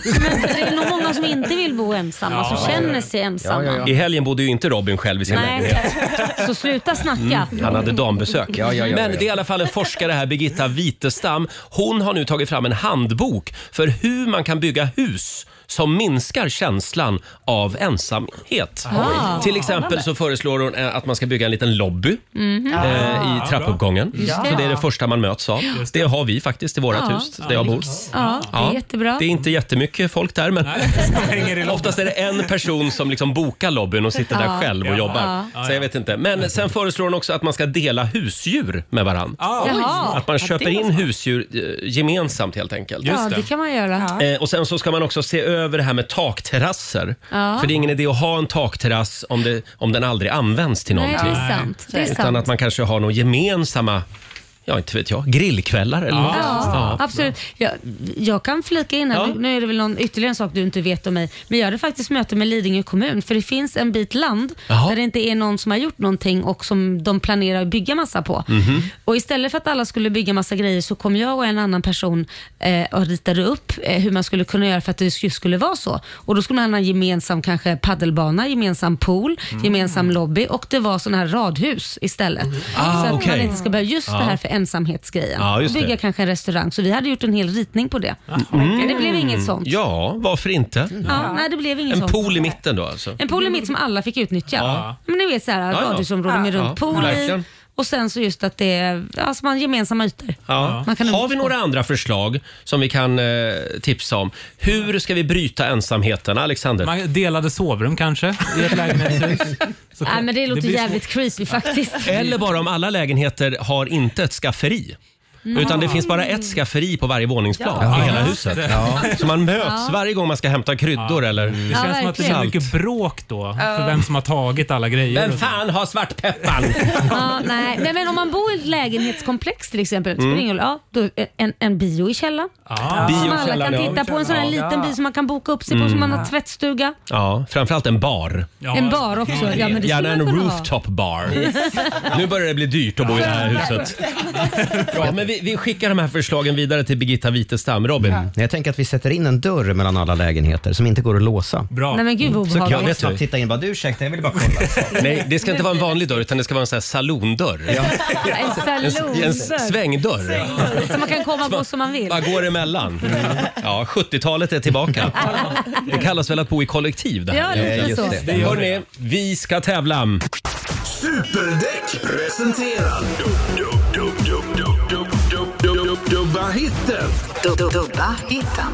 B: Det är nog många som inte vill bo ensamma, som känner sig ensamma.
A: I helgen bodde ju inte Robin själv i sin lägenhet.
B: Nej, så sluta snacka.
A: Han hade dambesök.
C: ja, ja, ja,
A: Men
C: ja.
A: det är i alla fall en forskare här, Birgitta Witestam. Hon har nu tagit fram en handbok för hur man kan bygga hus som minskar känslan av ensamhet.
B: Ah.
A: Till exempel så föreslår hon eh, att man ska bygga en liten lobby eh, i trappuppgången. Så det är det första man möts av. Det har vi faktiskt i vårt
C: Ah.
B: Ja.
A: hus där jag bor.
B: Ja, det är jättebra.
A: Det är inte jättemycket folk där men
H: Hänger i
A: Oftast är det en person som liksom bokar lobbyn och sitter där själv och jobbar. Så jag vet inte.
B: Mm.
A: Men sen föreslår hon också att man ska dela husdjur med varandra.
B: Jaha.
A: Att man köper in husdjur eh, gemensamt helt enkelt.
H: Just
B: Ja, det
H: det.
B: kan man göra.
A: Eh, och Sen så ska man också se över det här med takterrasser.
B: Ja.
A: För det är ingen idé att ha en takterrass om, det, om den aldrig används till
B: Nej, det
A: någonting.
B: är sant. Det är
A: Utan
B: sant.
A: att man kanske har några gemensamma, ja inte vet jag, grillkvällar eller något.
B: Ja,
A: Ja.
B: absolut. Jag, jag kan flika in här.
A: Ja.
B: Nu- Nu är det väl någon, ytterligare en sak du inte vet om mig. Men jag hade faktiskt möte med Lidingö kommun för det finns en bit land
A: Jaha.
B: där det inte är någon som har gjort någonting och som de planerar att bygga massa på.
A: Mhm.
B: Och istället för att alla skulle bygga massa grejer så kom jag och en annan person eh, och ritade upp eh, hur man skulle kunna göra för att det just skulle vara så. Och då skulle man ha en gemensam kanske paddelbana, gemensam pool,
A: Mm.
B: gemensam lobby och det var sådana här radhus istället.
A: Ah,
B: så att man
A: okej.
B: inte ska börja just det här för ensamhetsgrejen.
A: Ja, just
B: bygga
A: det.
B: kanske en restaurang. Så vi hade gjort en hel ritning på det. Men det blev inget sånt. Ja.
A: Mm. ja, varför inte?
B: nej, det blev inget
A: En
B: sånt.
A: pool i mitten då alltså?
B: en pool i mitt som alla fick utnyttja. Men ni vet så här,
A: ja.
B: radhusområden med
A: Ja.
B: runt pool i.
A: Verkligen.
B: Och sen så just att det är alltså man har gemensamma ytor.
A: Ja.
B: Man kan
A: Har
B: umgås
A: vi
B: på.
A: några andra förslag som vi kan eh, tipsa om? Hur ska vi bryta ensamheten, Alexander?
H: Man delade sovrum kanske i ett lägenhetshus. Så-
B: Nej, men det
H: blir
B: låter
H: svårt.
B: jävligt
A: [laughs]
B: creepy faktiskt.
A: Eller bara om alla lägenheter har inte ett skafferi.
B: Mm.
A: Utan det finns bara ett skafferi på varje våningsplan i hela huset. Så man möts varje gång man ska hämta kryddor eller...
H: Det
B: Ja,
H: känns som att det blir
A: verkligen.
H: mycket bråk då, för vem som har tagit alla grejer.
A: Vem
H: och så.
A: fan har svartpepparn?
B: ja, nej. nej, men om man bor i ett lägenhetskomplex till
A: Mm.
B: exempel. spelar ingen roll. Ja, då, en, en bio i källaren.
H: Ah.
A: Bio
B: Som
A: i
B: alla
A: källaren,
B: kan
A: ja. Mm.
B: titta på. En sån här liten bio som man kan boka upp sig på, som man har tvättstuga.
A: Ja, framförallt en bar.
H: Ja.
B: En bar också. Ja, men det
A: Gärna
B: skulle man
A: en
B: kunna ha.
A: rooftop bar. Nu börjar det bli dyrt att bo i det här huset. Ja, men vi, vi skickar de här förslagen vidare till Birgitta Witestam. Robin?
C: Jag tänker att vi sätter in en dörr mellan alla lägenheter som inte går att låsa.
H: Bra.
B: Nej men gud vad
C: Så
B: obehagligt.
C: kan man
A: vet du.
C: snabbt titta in och bara du ursäkta, jag ville bara kolla.
A: Nej, det ska inte vara en vanlig dörr utan det ska vara en sån här salondörr. En,
B: En
A: en
B: salondörr.
A: svängdörr.
B: Så man kan komma och gå som man vill.
A: Man går emellan. Ja, 70-talet är tillbaka. Det kallas väl att bo i kollektiv det
B: Ja,
A: här.
B: lite
C: just
B: så.
C: det.
A: Hörrni, vi ska tävla.
E: Superdäck presenterar... Dubb, dubb, dubb, dubb, dubb, dubb, dubb, dubb, dubb, Dubba hitten!
K: Dubba hitten.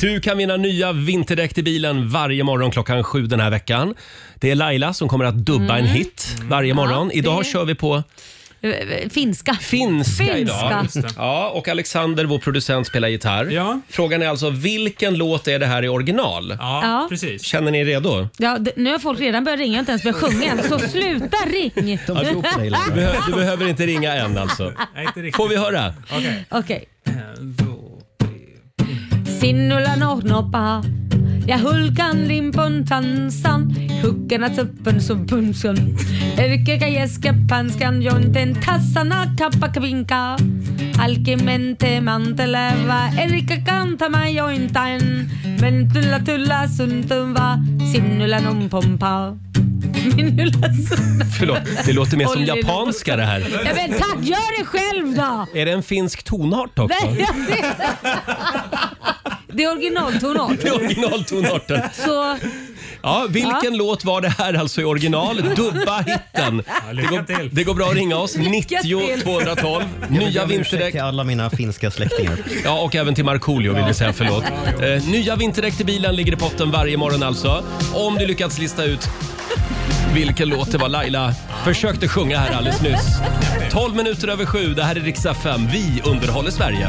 A: Du kan vinna nya vinterdäck till bilen varje morgon klockan sju den här veckan. Det är Laila som kommer att dubba en hit varje morgon. Idag kör vi på
B: Eh,
A: finska,
B: Finska. Finska.
A: idag.
H: Just det.
A: Ja, och Alexander, vår producent, spelar gitarr.
H: Ja.
A: Frågan är alltså, vilken låt är det här i original?
H: Ja,
B: Ja.
H: precis.
A: Känner ni er redo?
B: Ja, d- nu har folk redan börjat ringa, jag har inte ens börjat sjunga än. Så sluta ring!
C: De tror på dig
A: Du,
C: Laila.
A: behö- du behöver inte ringa än alltså.
H: Nej, inte riktigt.
A: Får vi höra?
H: Okej.
B: Okej.
H: Då-
B: Sinulla nohnopa ja hulkan limpon tanssan. Hukkena tuppen som punsan. Erkeka jäske panskan jonten tassana kappakvinka. Alkimente manteleva erika kantama jointain. Men tulla tulla suntumva sinulla nompompa. Minulla suntumva.
A: Förlåt, det låter mer som
B: Oj, det låter-
A: japanska det här.
B: Ja men tack, gör det själv då!
A: Är det en finsk tonart också?
B: Nej, jag vet. [laughs] Det är originaltonart.
A: Det är originaltonarten.
B: Så
A: Ja, vilken
B: Ja.
A: låt var det här alltså i original? Dubba hitten. det, går, det går bra att ringa oss.
B: Lycka till.
A: 90 212.
C: Jag vill be
A: Nya
C: om ursäkt
A: vinterdäck.
C: till alla mina finska släktingar.
A: Ja, och även till Markoolio vill vi säga förlåt. Eh, nya vinterdäck till bilen ligger i potten varje morgon alltså. Om du lyckats lista ut vilken låt det var Laila försökte sjunga här alldeles nyss. 12 minuter över sju, det här är riksdag 5. Vi underhåller Sverige.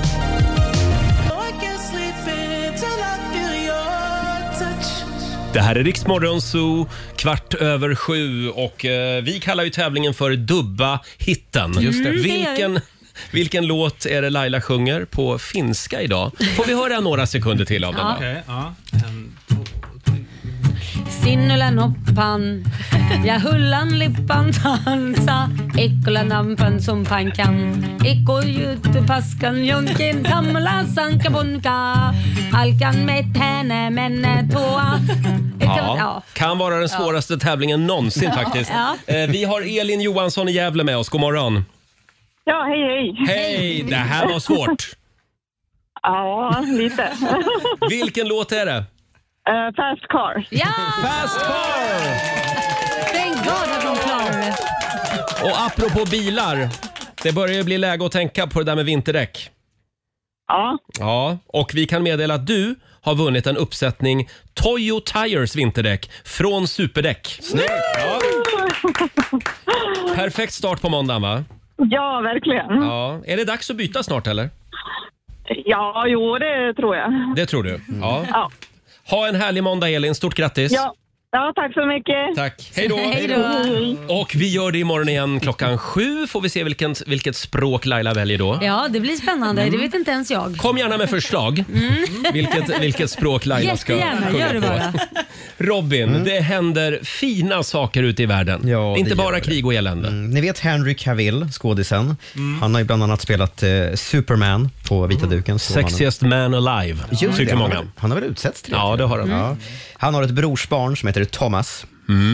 A: Det här är Riksmorgon Zoo, kvart över sju och eh, vi kallar ju tävlingen för Dubba hitten.
B: Just det. Mm, det gör vi.
A: Vilken, [laughs] vilken låt är det Laila sjunger på finska idag? Får vi höra några sekunder till av den?
B: Ja.
A: då?
B: Okej,
H: Ehm,
B: Sinnulän hoppan, ja hullan lippan tansa, ekkolan ampan som pankan, ekkoljuttu paskan jonkin tamla sanka bunka, halkan med tänne menne tåa.
A: Ja, kan vara den svåraste tävlingen någonsin
B: Ja.
A: faktiskt.
B: Ja.
A: Eh, Vi har Elin Johansson i Gävle med oss. God morgon.
F: Ja, hej hej.
A: Hej, det här var svårt.
F: ja,
A: [laughs]
F: lite.
A: Vilken låt är det?
F: Eh, fast car.
B: Ja!
A: Fast car!
B: Thank God att hon klarade det.
A: Och apropå bilar, det börjar ju bli läge att tänka på det där med vinterdäck.
F: Ja.
A: Ja, och vi kan meddela att du har vunnit en uppsättning Toyo Tires vinterdäck från Superdäck. Snyggt!
B: [laughs]
A: Ja. Perfekt start på måndagen va?
F: Ja, verkligen. Ja.
A: Ja. Är det dags att byta snart eller?
F: jo, det tror jag.
A: Det tror du?
B: Mm.
A: Ja.
F: Ja.
A: Ha en härlig måndag Elin, stort grattis!
F: Ja. ja, tack så mycket.
A: Tack. Hej då.
F: Hej då.
A: Och vi gör det imorgon igen klockan sju. Får vi se vilken, vilket språk Laila väljer då.
B: Ja, det blir spännande. Det vet inte ens jag.
A: Kom gärna med förslag. Vilket, vilket språk Laila ska
B: Mm. Jättegärna,
A: sjunga
B: gör det
A: på.
B: bara.
A: Robin, det händer fina saker ute i världen. Inte
C: Mm. det gör
A: bara
C: det.
A: krig och elände.
C: Mm, ni vet Henry Cavill, skådisen. Han har ju bland annat spelat eh, Superman på vita duken. Så
A: Sexiest man alive,
C: Just
A: Mm. tycker
C: det, han har-
A: många.
C: Han har väl utsetts till
A: Ja, det har han. Mm.
C: Ja. Han har ett brorsbarn som heter Thomas.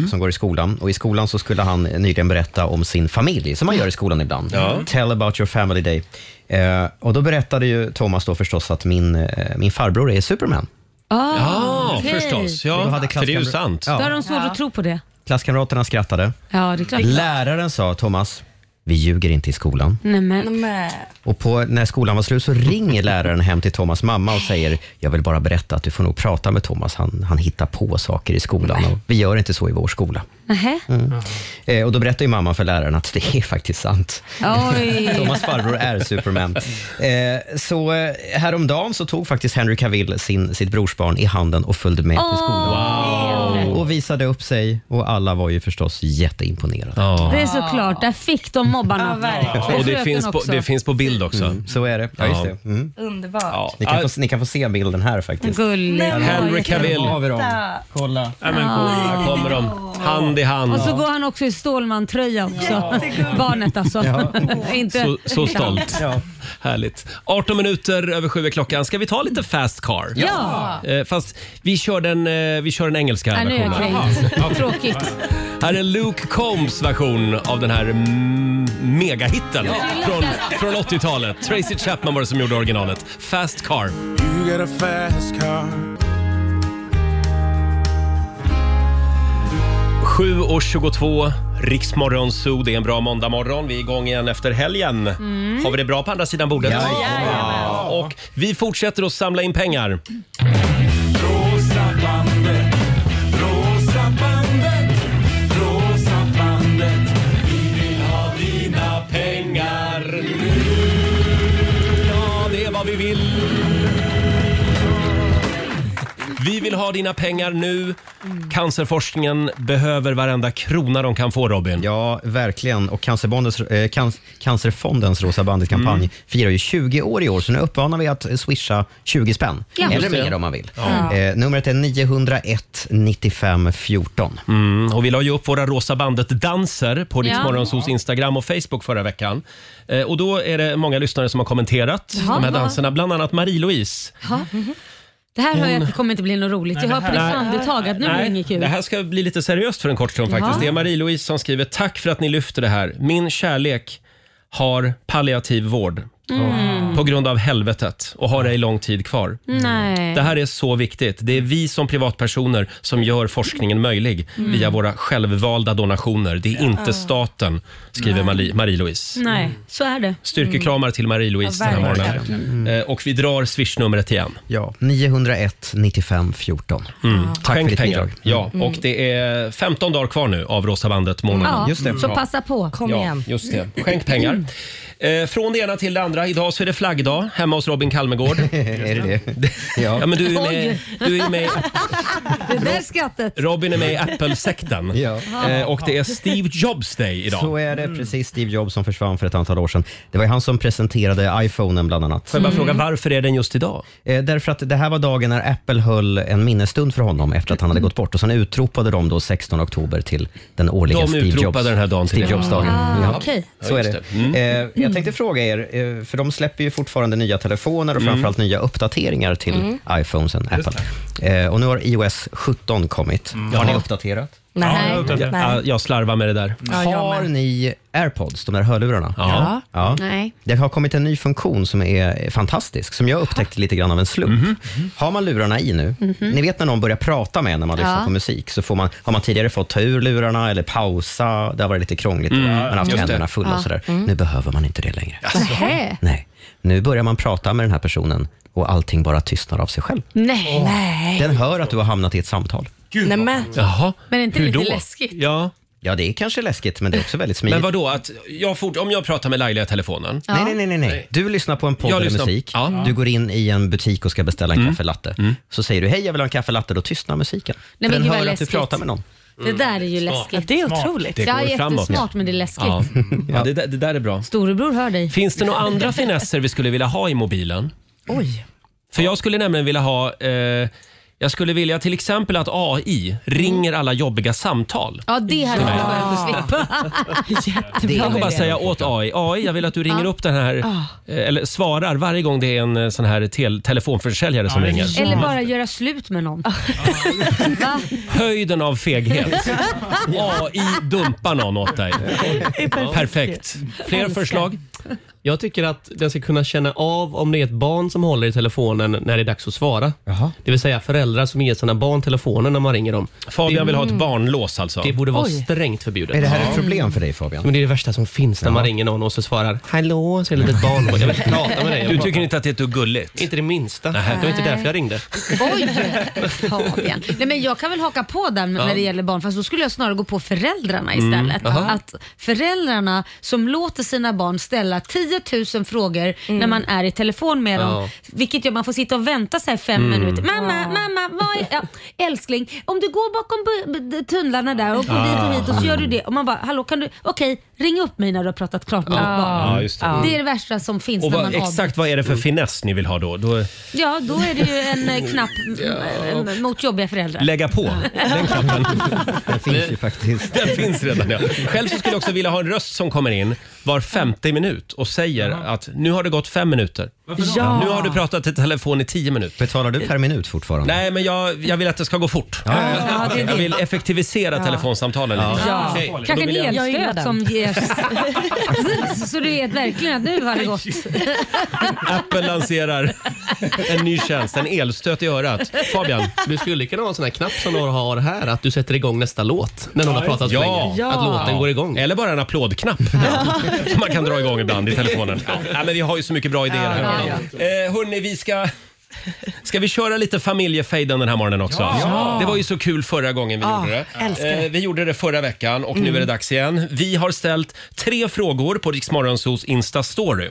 C: som går i skolan. Och I skolan så skulle han nyligen berätta om sin familj, som man gör i skolan ibland. Tell about your family day. Eh, och Då berättade ju Thomas då förstås att min, eh, min farbror är Superman.
B: Ah,
A: Ja,
B: okej.
A: förstås. Ja,
C: Då hade
A: för det är ju
C: klasskamrat-
A: sant.
B: Då
C: Ja.
B: har de svårt att tro på det.
C: Klasskamraterna skrattade.
B: Ja, det är klart.
C: Läraren sa, Thomas, vi ljuger inte i skolan.
B: Nej,
G: Mm.
B: men.
C: Och på, när skolan var slut så ringer läraren hem till Thomas mamma och säger, jag vill bara berätta att du får nog prata med Thomas. Han, han hittar på saker i skolan och vi gör inte så i vår skola.
B: Nähä.
C: Mm. Eh, och då berättar ju mamma för läraren att det är faktiskt sant.
B: Oj.
C: Thomas farbror är Superman. Eh, så eh, häromdagen så tog faktiskt Henry Cavill sin, sitt brorsbarn i handen och följde med till skolan. Och visade upp sig och alla var ju förstås jätteimponerade.
B: Det är såklart, där fick de mobbarna.
A: Och det
B: Fröken
A: finns, på,
B: också.
A: det finns på bild också.
C: Så är det. Ja, just det. Mm.
G: Underbart.
C: Ni, kan få, ni kan få se bilden här faktiskt.
B: Gulligt.
C: Där har-
A: Henry Cavill.
C: Där har vi dem. Kolla.
A: Ja, men kolla, här kommer de. Hand i hand.
B: Och så går han också i Stålman-tröja också. Barnet alltså. Inte
A: Så, så stolt. Härligt. 18 minuter över sju är klockan. Ska vi ta lite fast car?
B: Ja.
A: Eh, fast vi kör den, eh, vi kör den engelska
B: Nej, nu är jag
A: versionen.
B: kränkt. Tråkigt.
A: Här är Luke Combs version av den här mm, megahitten från, från 80-talet. Tracy Chapman var det som gjorde originalet. Fast car.
E: You got a fast car.
A: 7 och 22, Riksmorgon Zoo. Det är en bra måndagmorgon. Vi är igång igen efter helgen. Har vi det bra på andra sidan bordet? Mm. Ja. Och vi fortsätter att samla in pengar.
E: Rosa bandet, rosa bandet, rosa bandet. Vi vill ha dina pengar nu.
A: Ja, det är vad vi vill. Vi vill ha dina pengar nu. Cancerforskningen behöver varenda krona de kan få, Robin.
C: Ja, verkligen. Och Cancerbondens, eh, can, Cancerfondens Rosa Bandet-kampanj
A: Mm.
C: firar ju 20 år i år, så nu uppmanar vi att swisha 20 spänn.
B: Ja. Mm.
C: Eller
B: Just det.
C: mer om man vill.
A: Ja.
C: Eh, numret är 901 95 14.
A: Mm, och vi la ju upp våra Rosa bandet-danser på
B: Ja.
A: Riksmorgonsos Instagram och Facebook förra veckan. Eh, och då är det många lyssnare som har kommenterat
B: Jaha,
A: de här
B: vad-
A: danserna, bland annat Marie-Louise.
B: Ja. Det här hör jag att det kommer inte bli något roligt. Jag hör på ditt
A: Nej.
B: andetag att nu är det inget kul.
A: det här ska bli lite seriöst för en kort stund faktiskt.
B: Ja.
A: Det är Marie-Louise som skriver “Tack för att ni lyfter det här. Min kärlek har palliativ vård På grund av helvetet och har det i lång tid kvar.
B: Mm. Nej.
A: Det här är så viktigt. Det är vi som privatpersoner som gör forskningen möjlig
B: Mm.
A: via våra självvalda donationer. Det är inte
B: Ja.
A: staten, skriver
B: Nej.
A: Mari- Marie-Louise.
B: Nej, så är det.
A: Styrkekramar till Marie-Louise
B: Ja,
A: den här
B: verkligen. Mm.
A: morgonen. Eh, Och vi drar swishnumret igen.
C: Ja, 901 95 14.
A: Mm.
C: Tack för
A: Skänk
C: ditt
A: pengar.
C: bidrag. [laughs]
A: Ja,
B: Mm.
A: och det är 15 dagar kvar nu av Rosa bandet-månaden.
B: Ja, Mm. Så passa på. Kom
A: ja, Just det. Skänk pengar. [clears throat] Eh, från det ena till det andra. Idag så är det flaggdag hemma hos Robin [laughs] Kalmegård. är det det? [laughs] Ja. men du är med, du är med
B: Det där skrattet.
A: Robin är med i Apple-sekten. Eh, och det är Steve Jobs Day idag.
C: Så är det. Precis Steve Jobs som försvann för ett antal år sedan. Det var ju han som presenterade iPhonen bland annat.
A: Får jag bara fråga, varför är den just idag?
C: Eh, därför att det här var dagen när Apple höll en minnesstund för honom efter att han hade gått bort. Och sen utropade de då 16 oktober till den årliga
A: De
C: Steve Jobs.
A: utropade den här dagen till
C: Steve
A: det.
C: Jobs-dagen.
A: Ah,
C: Ja.
A: okej.
C: Så är
A: Ja,
C: det.
A: just Mm.
C: Eh, jag tänkte fråga er, eh, för de släpper ju fortfarande nya telefoner och
A: Mm.
C: framförallt nya uppdateringar till
G: Mm.
C: iPhonesen, Apple. Eh, och nu har iOS 17 kommit.
A: Mm.
C: Har ni uppdaterat?
G: Nej. Ja, jag har uppdaterat. Nej.
A: Jag, jag slarvar med det där.
G: Ja, jag
C: har ni airpods, de där hörlurarna?
G: Ja.
C: ja.
G: Nej.
C: Det har kommit en ny funktion som är fantastisk, som jag upptäckte lite grann av en slump.
L: Mhm.
C: Har man lurarna i nu, ni vet när någon börjar prata med en när man lyssnar
L: Ja.
C: på musik, så får man, har man tidigare fått ta ur lurarna eller pausa, det har varit lite krångligt,
L: Mm,
C: man har haft
L: just det.
C: händerna fulla
L: Ja.
C: och sådär.
L: Mm.
C: Nu behöver man inte det längre.
B: Nähä.
C: Nej. Nu börjar man prata med den här personen och allting bara tystnar av sig själv.
B: Nej. Nej.
C: Den hör att du har hamnat i ett samtal.
B: Nej, men.
A: Jaha.
B: Men är inte
A: Hur
B: lite
A: då?
B: läskigt?
A: Ja.
C: ja, det är kanske läskigt, men det är också väldigt smidigt.
A: Men vad då att jag fort, om jag pratar med Laila i telefonen.
C: Nej, nej, nej, nej, nej. Du lyssnar Mm. på en podd
A: Jag
C: eller
A: lyssnar-
C: musik.
A: Ja.
C: Du går in i en butik och ska beställa en kaffelatte. Så säger du hej, jag vill ha en kaffelatte. Då tystnar musiken.
B: men
C: För den
B: gud, vad
C: hör att du
B: läskigt.
C: pratar med någon.
B: Det där är ju läskigt.
G: Det är otroligt.
A: Det
B: ja,
A: går framåt.
B: jättesmart men det är läskigt. [laughs]
A: Ja. Ja, det, där- det där är bra.
B: Storebror hör dig.
A: Finns det några andra finesser vi skulle vilja ha i mobilen?
G: Oj.
A: För jag skulle nämligen vilja ha eh, jag skulle vilja till exempel att AI ringer alla jobbiga samtal.
B: Ja, det hade
A: Ja.
B: man behövt slippa.
A: Jag
B: Jättebra
A: kan bara
B: idé.
A: säga åt AI, AI jag vill att du ringer
B: Ja.
A: upp den här,
B: Ah.
A: eh, eller svarar varje gång det är en eh, sån här tel- telefonförsäljare som ringer.
B: Eller bara göra slut med någon. Va?
A: Höjden av feghet. AI dumpar någon åt dig. Perfekt. Fler förslag?
I: Jag tycker att den ska kunna känna av om det är ett barn som håller i telefonen när det är dags att svara. Det vill säga föräldrar som ger sina barn telefonen när man ringer dem.
A: Fabian vill ha ett barnlås alltså.
I: Det borde vara
A: Oj.
I: strängt förbjudet.
C: Är det här
I: Ja.
C: ett problem för dig Fabian?
I: Men det är det värsta som finns när man
C: Ja.
I: ringer någon och så svarar “Hallå, så är det ett litet barn på. Jag vill inte prata med dig. Jag
A: Du
I: pratar-
A: tycker inte att det är ett gulligt?
I: Inte det minsta. Det var inte
B: Nej.
I: därför jag ringde.
B: Oj, Fabian. Nej, men jag kan väl haka på där
I: Ja.
B: när det gäller barn, fast då skulle jag snarare gå på föräldrarna
I: Mm,
B: istället.
I: aha.
B: Att föräldrarna som låter sina barn ställa 10 000 frågor när man är i telefon med dem,
I: Ja.
B: vilket gör att man får sitta och vänta så här fem
I: Mm.
B: minuter. Mamma, mamma, vad är, ja, älskling, om du går bakom bu- bu- tunnlarna där och går dit och hit och så gör du det och man bara, hallå kan du, okej, ring upp mig när du har pratat klart med
A: Ja.
B: ditt barn.
A: Ja, just det.
B: det. är det värsta som finns
A: Och
B: när
A: vad,
B: man avbryter.
A: exakt vad är det
B: Mm.
A: för finess ni vill ha då? då
B: Ja, då är det ju en eh, knapp
A: [laughs]
B: m- m- mot jobbiga föräldrar.
A: lägga på den knappen.
C: Den finns ju faktiskt.
B: [laughs]
A: Den [laughs] finns redan ja. Själv så skulle jag också vilja ha en röst som kommer in var 50 minut och säger att nu har det gått fem minuter.
C: Ja.
A: Nu har du pratat i telefon i tio minuter.
C: Betalar du per minut fortfarande?
A: Nej, men jag, jag vill att det ska gå fort.
B: Ja, det är
A: Jag
B: det.
A: vill effektivisera telefonsamtalen lite.
B: Ja.
A: Okej, då
B: Kanske
A: vill jag-
B: en
G: Jag gillar
B: elstöt
G: den.
B: som ges.
A: [laughs]
B: [laughs] Så- Så du vet verkligen att nu har det gått.
A: Apple lanserar en ny tjänst, en elstöt i örat. Fabian?
I: Du skulle kunna ha en sån här knapp som du har här, att du sätter igång nästa låt när någon har pratat så
A: ja.
I: länge. Att låten går igång.
A: Eller bara en applådknapp som man kan dra igång ibland i telefonen. Ja. Nej, men vi har ju så mycket bra idéer här.
I: Ja,
A: Eh, hörni, vi ska... Ska vi köra lite familjefejden den här morgonen också?
I: Ja.
A: Det var ju så kul förra gången vi
I: Ah,
A: gjorde
I: älskar
A: det.
I: det.
A: Eh, vi gjorde det förra veckan och nu
I: Mm.
A: är det dags igen. Vi har ställt tre frågor på Riksmorgonsos Insta-story.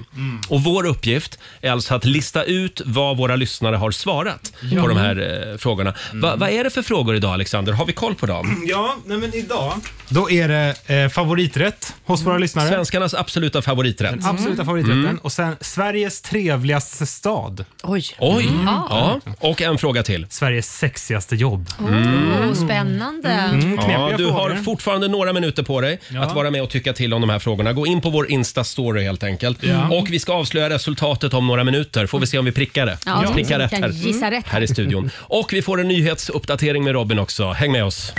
A: Och vår uppgift är alltså att lista ut vad våra lyssnare har svarat
H: Ja.
A: på de här eh, frågorna.
I: Mm.
A: Va, vad är det för frågor idag Alexander? Har vi koll på dem?
H: Ja, nej men idag. Då är det eh, favoriträtt hos våra lyssnare.
A: Svenskarnas absoluta favoriträtt.
I: Mm.
H: Den absoluta favoriträtten. Och sen Sveriges trevligaste stad.
G: Oj.
A: Oj! Ja. Och en fråga till.
H: Sveriges sexigaste jobb.
A: Mm.
B: Oh, spännande.
A: Ja,
H: knepiga
A: du har
H: frågor.
A: fortfarande några minuter på dig att vara med och tycka till om de här frågorna. Gå in på vår Insta-story helt enkelt. Mm.
B: Ja.
A: Och vi ska avslöja resultatet om några minuter. Får vi se om vi prickar det.
B: Ja,
A: Vi prickar
B: vi
A: rätt
B: kan
A: här,
B: gissa rätt.
A: här i studion. Och vi får en nyhetsuppdatering med Robin också. Häng med oss.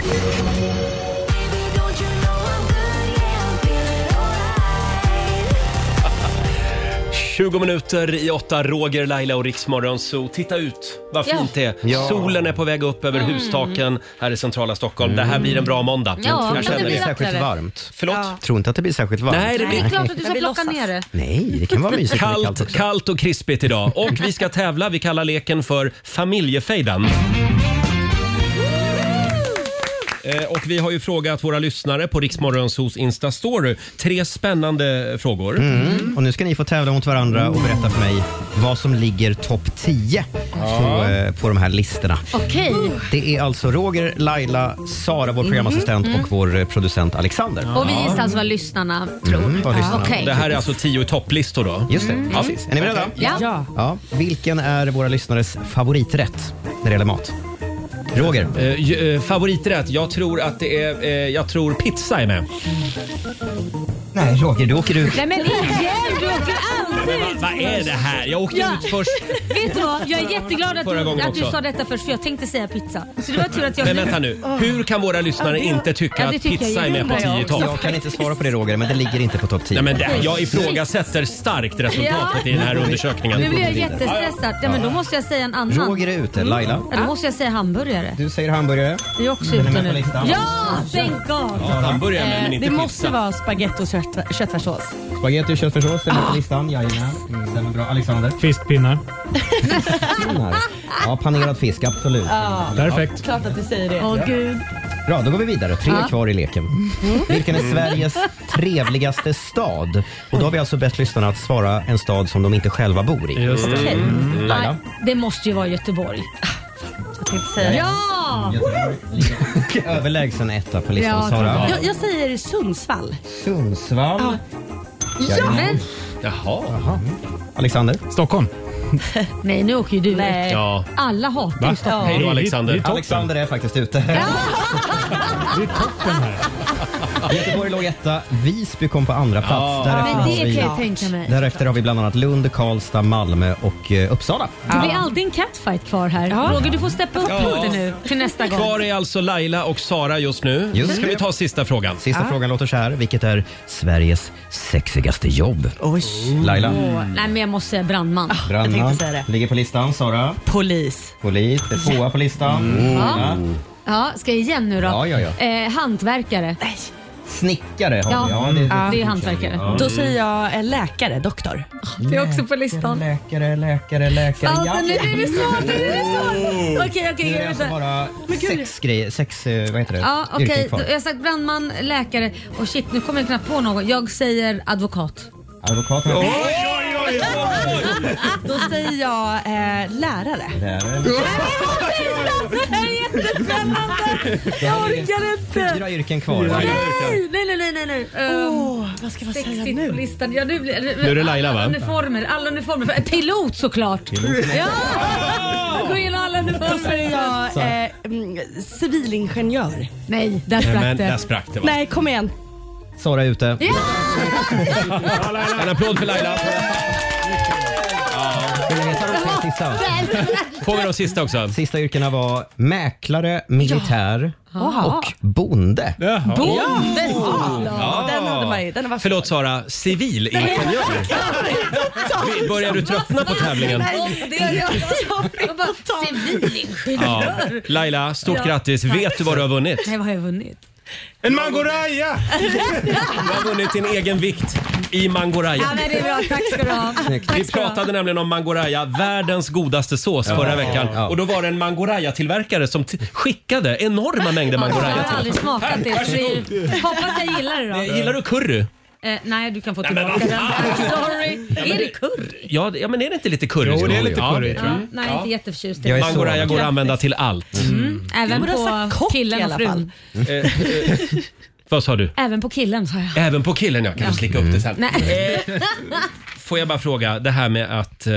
A: 20 minuter i åtta, Roger, Laila och Riksmorgon. Så titta ut vad
B: Ja.
A: fint det är.
B: Ja.
A: Solen är på väg upp över
B: Mm.
A: hustaken här i centrala Stockholm. Det här blir en bra måndag.
B: Ja, kan det bli
C: särskilt
B: vackrare?
C: varmt.
A: Förlåt?
C: Tror inte att det blir särskilt varmt.
A: Nej, det blir-
B: Det är klart att du ska
A: Men vi
B: plocka ner det.
C: Nej, det kan vara mysigt. om det är
A: kallt,
C: kallt
A: kallt, och krispigt idag. Och vi ska tävla. Vi kallar leken för Familjefejden. Eh, Och vi har ju frågat våra lyssnare på Riksmorgonsos Insta-story. Tre spännande
C: [laughs]
A: frågor.
C: Mm. Och nu ska ni få tävla mot varandra och berätta för mig vad som ligger topp 10 på, eh, på de här listorna.
B: Okej.
C: Det är alltså Roger, Laila, Sara, vår programassistent
B: Mm.
C: och vår eh, producent Alexander.
B: Och vi gissar alltså vad lyssnarna tror.
C: Mm, vad lyssnarna-
B: Okej.
A: Det här är alltså tio i topplistor då.
C: Just det,
B: Mm.
C: precis. Är ni beredda?
B: Ja. Ja.
C: ja. Vilken är våra lyssnares favoriträtt när det gäller mat? Roger?
A: Eh, favoriträtt? Jag tror att det är... eh, jag tror pizza är med.
C: Nej, Roger, du åker ut.
B: Nej men igen, du åker alltid ut
A: Vad är det här? Jag åkte ut först.
B: Vet du vad? Jag är jätteglad att
A: Förra
B: du,
A: gången
B: att du
A: också.
B: sa detta först för jag tänkte säga pizza. Så det var tur att jag...
A: Men vänta nu. Hur kan våra lyssnare inte tycka
B: Ja, det
A: att
B: tycker jag
A: pizza är
B: ju.
A: med på
B: Jag
A: tio i
B: också.
A: topp?
C: Jag kan inte svara på det Roger, men det ligger inte på topp 10.
A: Nej, men det, jag ifrågasätter starkt resultatet i den här undersökningen.
B: Nu blir jag jättestressad. Ja, men då måste jag säga en annan.
C: Roger är ute, Laila.
B: Ja, då måste jag säga hamburgare.
C: Du säger hamburgare.
B: Vi är också
C: Den är
B: ute
C: med på
B: nu.
C: listan.
B: Ja, thank God!
C: Ja, hamburgare är med, men inte
L: Eh, Det
C: pizza.
L: måste vara spagetti och kött, köttfärssås.
C: Spagetti och köttfärssås är med
A: Ah.
C: på listan. Jajamän. Mm, Stämmer bra. Alexander? [laughs] Fiskpinnar. Ja, panerad fisk. Absolut.
L: Ja.
C: Perfekt.
L: Klart att du säger det.
C: Åh,
L: gud.
C: Bra, då går vi vidare. Tre
L: Ja.
C: kvar i leken. Vilken är Sveriges trevligaste stad? Och då har vi alltså bett lyssnarna att svara en stad som de inte själva bor i.
B: Just det. Okej.
C: Mm. Laila?
B: Nej, det måste ju vara Göteborg. Jag tänkte
L: säga det.
B: Ja!
C: Överlägsen etta på listan. Sara?
L: jag, jag säger Sundsvall.
C: Sundsvall.
L: Ja, men-
A: Jaha.
C: Alexander? Stockholm.
B: Nej, nu åker ju du
L: Nej.
B: ut.
C: Ja.
B: Alla hatar ju Stockholm.
C: Hej då
A: Det är
C: Alexander.
A: toppen.
C: Alexander är faktiskt ute.
B: Det är toppen här.
C: Göteborg låg etta, Visby kom på andra plats.
B: Ja.
C: Därefter
B: Men
C: har
B: det
C: vi-
B: kan jag tänka mig.
C: Därefter har vi bland annat Lund, Karlstad, Malmö och eh, Uppsala.
B: Det blir alltid en catfight kvar här. Roger, du får steppa upp
A: Ja.
B: lite nu till nästa gång.
A: Kvar är alltså Laila och Sara just nu.
C: Just
A: Ska
C: det.
A: vi ta sista frågan?
C: Sista
B: Ah.
C: frågan låter så här. Vilket är Sveriges sexigaste jobb? Oj. Laila?
B: Åh, nej, men jag måste säga brandman.
C: Ah. Brandman ligger på listan. Sara?
L: Polis.
C: Polis är tvåa på listan.
B: Mm.
C: Laila?
B: Ja, ska jag igen nu då?
C: Ja, ja, ja.
B: Eh, hantverkare. Nej.
C: Snickare har
B: Ja,
C: vi. Ja, det,
B: det är hantverkare.
C: Ja.
L: Då säger jag eh, läkare, doktor.
B: Det är också på listan.
C: Läkare, läkare, läkare.
B: Alltså, nu är det svårt, nu är det
C: Oh.
B: svårt. Okej,
C: Nu är det
B: okej.
C: alltså bara sex grejer, sex, eh, vad heter det?
B: Ja, okej.
C: Yrken
B: Då-
C: kvar.
B: Jag har sagt brandman, läkare och shit, nu kommer jag knappt på någon. Jag säger advokat.
C: Advokaten.
L: [laughs] Då säger jag eh, lärare.
B: Det här
L: [laughs]
B: är jättespännande! Jag orkar inte!
C: Fyra yrken kvar.
B: Nej, nej, nej, nej, nej. Ehm,
L: vad ska man
B: sexigt på listan. Ja, nu, blir-
C: Nu är det Laila, va?
B: Alla uniformer, alla uniformer. Eh, Pilot såklart!
C: Pilot.
B: Ja! Jag går igenom alla uniformer.
L: Då säger jag
B: Så.
L: eh, mm, civilingenjör.
B: Nej, där
C: sprack men det. där sprack det, va?
L: Nej, kom igen.
C: Sara är ute.
B: Ja!
A: En applåd för Laila.
C: Vill ni veta de tre sista?
A: Får vi de sista också?
C: Sista yrkena var mäklare, militär
L: Ja.
C: och bonde.
L: Bonde
A: Ja.
L: ja. Den hade man ju. Den var
A: Förlåt Sara, civilingenjör. Vi- Börjar du tröttna på tävlingen?
B: Nej, det gör jag. Jag bara,
A: Ja.
B: Civilingenjör.
A: Laila, stort
B: Ja.
A: grattis. Vet du vad du har vunnit?
B: Nej, vad har jag vunnit?
A: En mangoraja! Du har vunnit din egen vikt i mangoraja.
B: Ja, men det är bra. Tack ska du ha.
A: Vi
B: Tack ska du ha.
A: pratade nämligen om mangoraja, världens godaste sås,
I: Ja.
A: förra veckan.
I: Ja.
A: Och då var det en mangoraja-tillverkare som t- skickade enorma mängder
B: Jag
A: mangoraja
B: har
A: till
B: aldrig
A: oss.
B: smakat det. Så det är ju... Hoppas jag gillar det då.
A: Eh, Gillar du curry?
B: Eh, nej, du kan få
A: Nej, men
B: tillbaka den.
A: vad
B: I'm sorry. är det curry?
A: Ja, det- ja, men är det inte lite curry?
I: Jo,
A: som
I: det är
A: går i?
I: lite
A: Ja,
I: curry,
A: det är
I: tror Mm.
A: det.
I: jag.
B: Ja, Mm. nej, inte jätteförtjust. i.
A: Mangoraja går att använda till allt.
B: Även
L: Du borde ha sagt
B: på
L: kock i
B: killen och
L: alla
B: frun.
A: Eh, eh, Vad sa du?
B: Även på killen sa jag.
A: Även på killen, jag kan
B: Ja. Mm.
A: slicka upp det sen.
B: Nej.
A: Får jag bara fråga, det här med att, eh,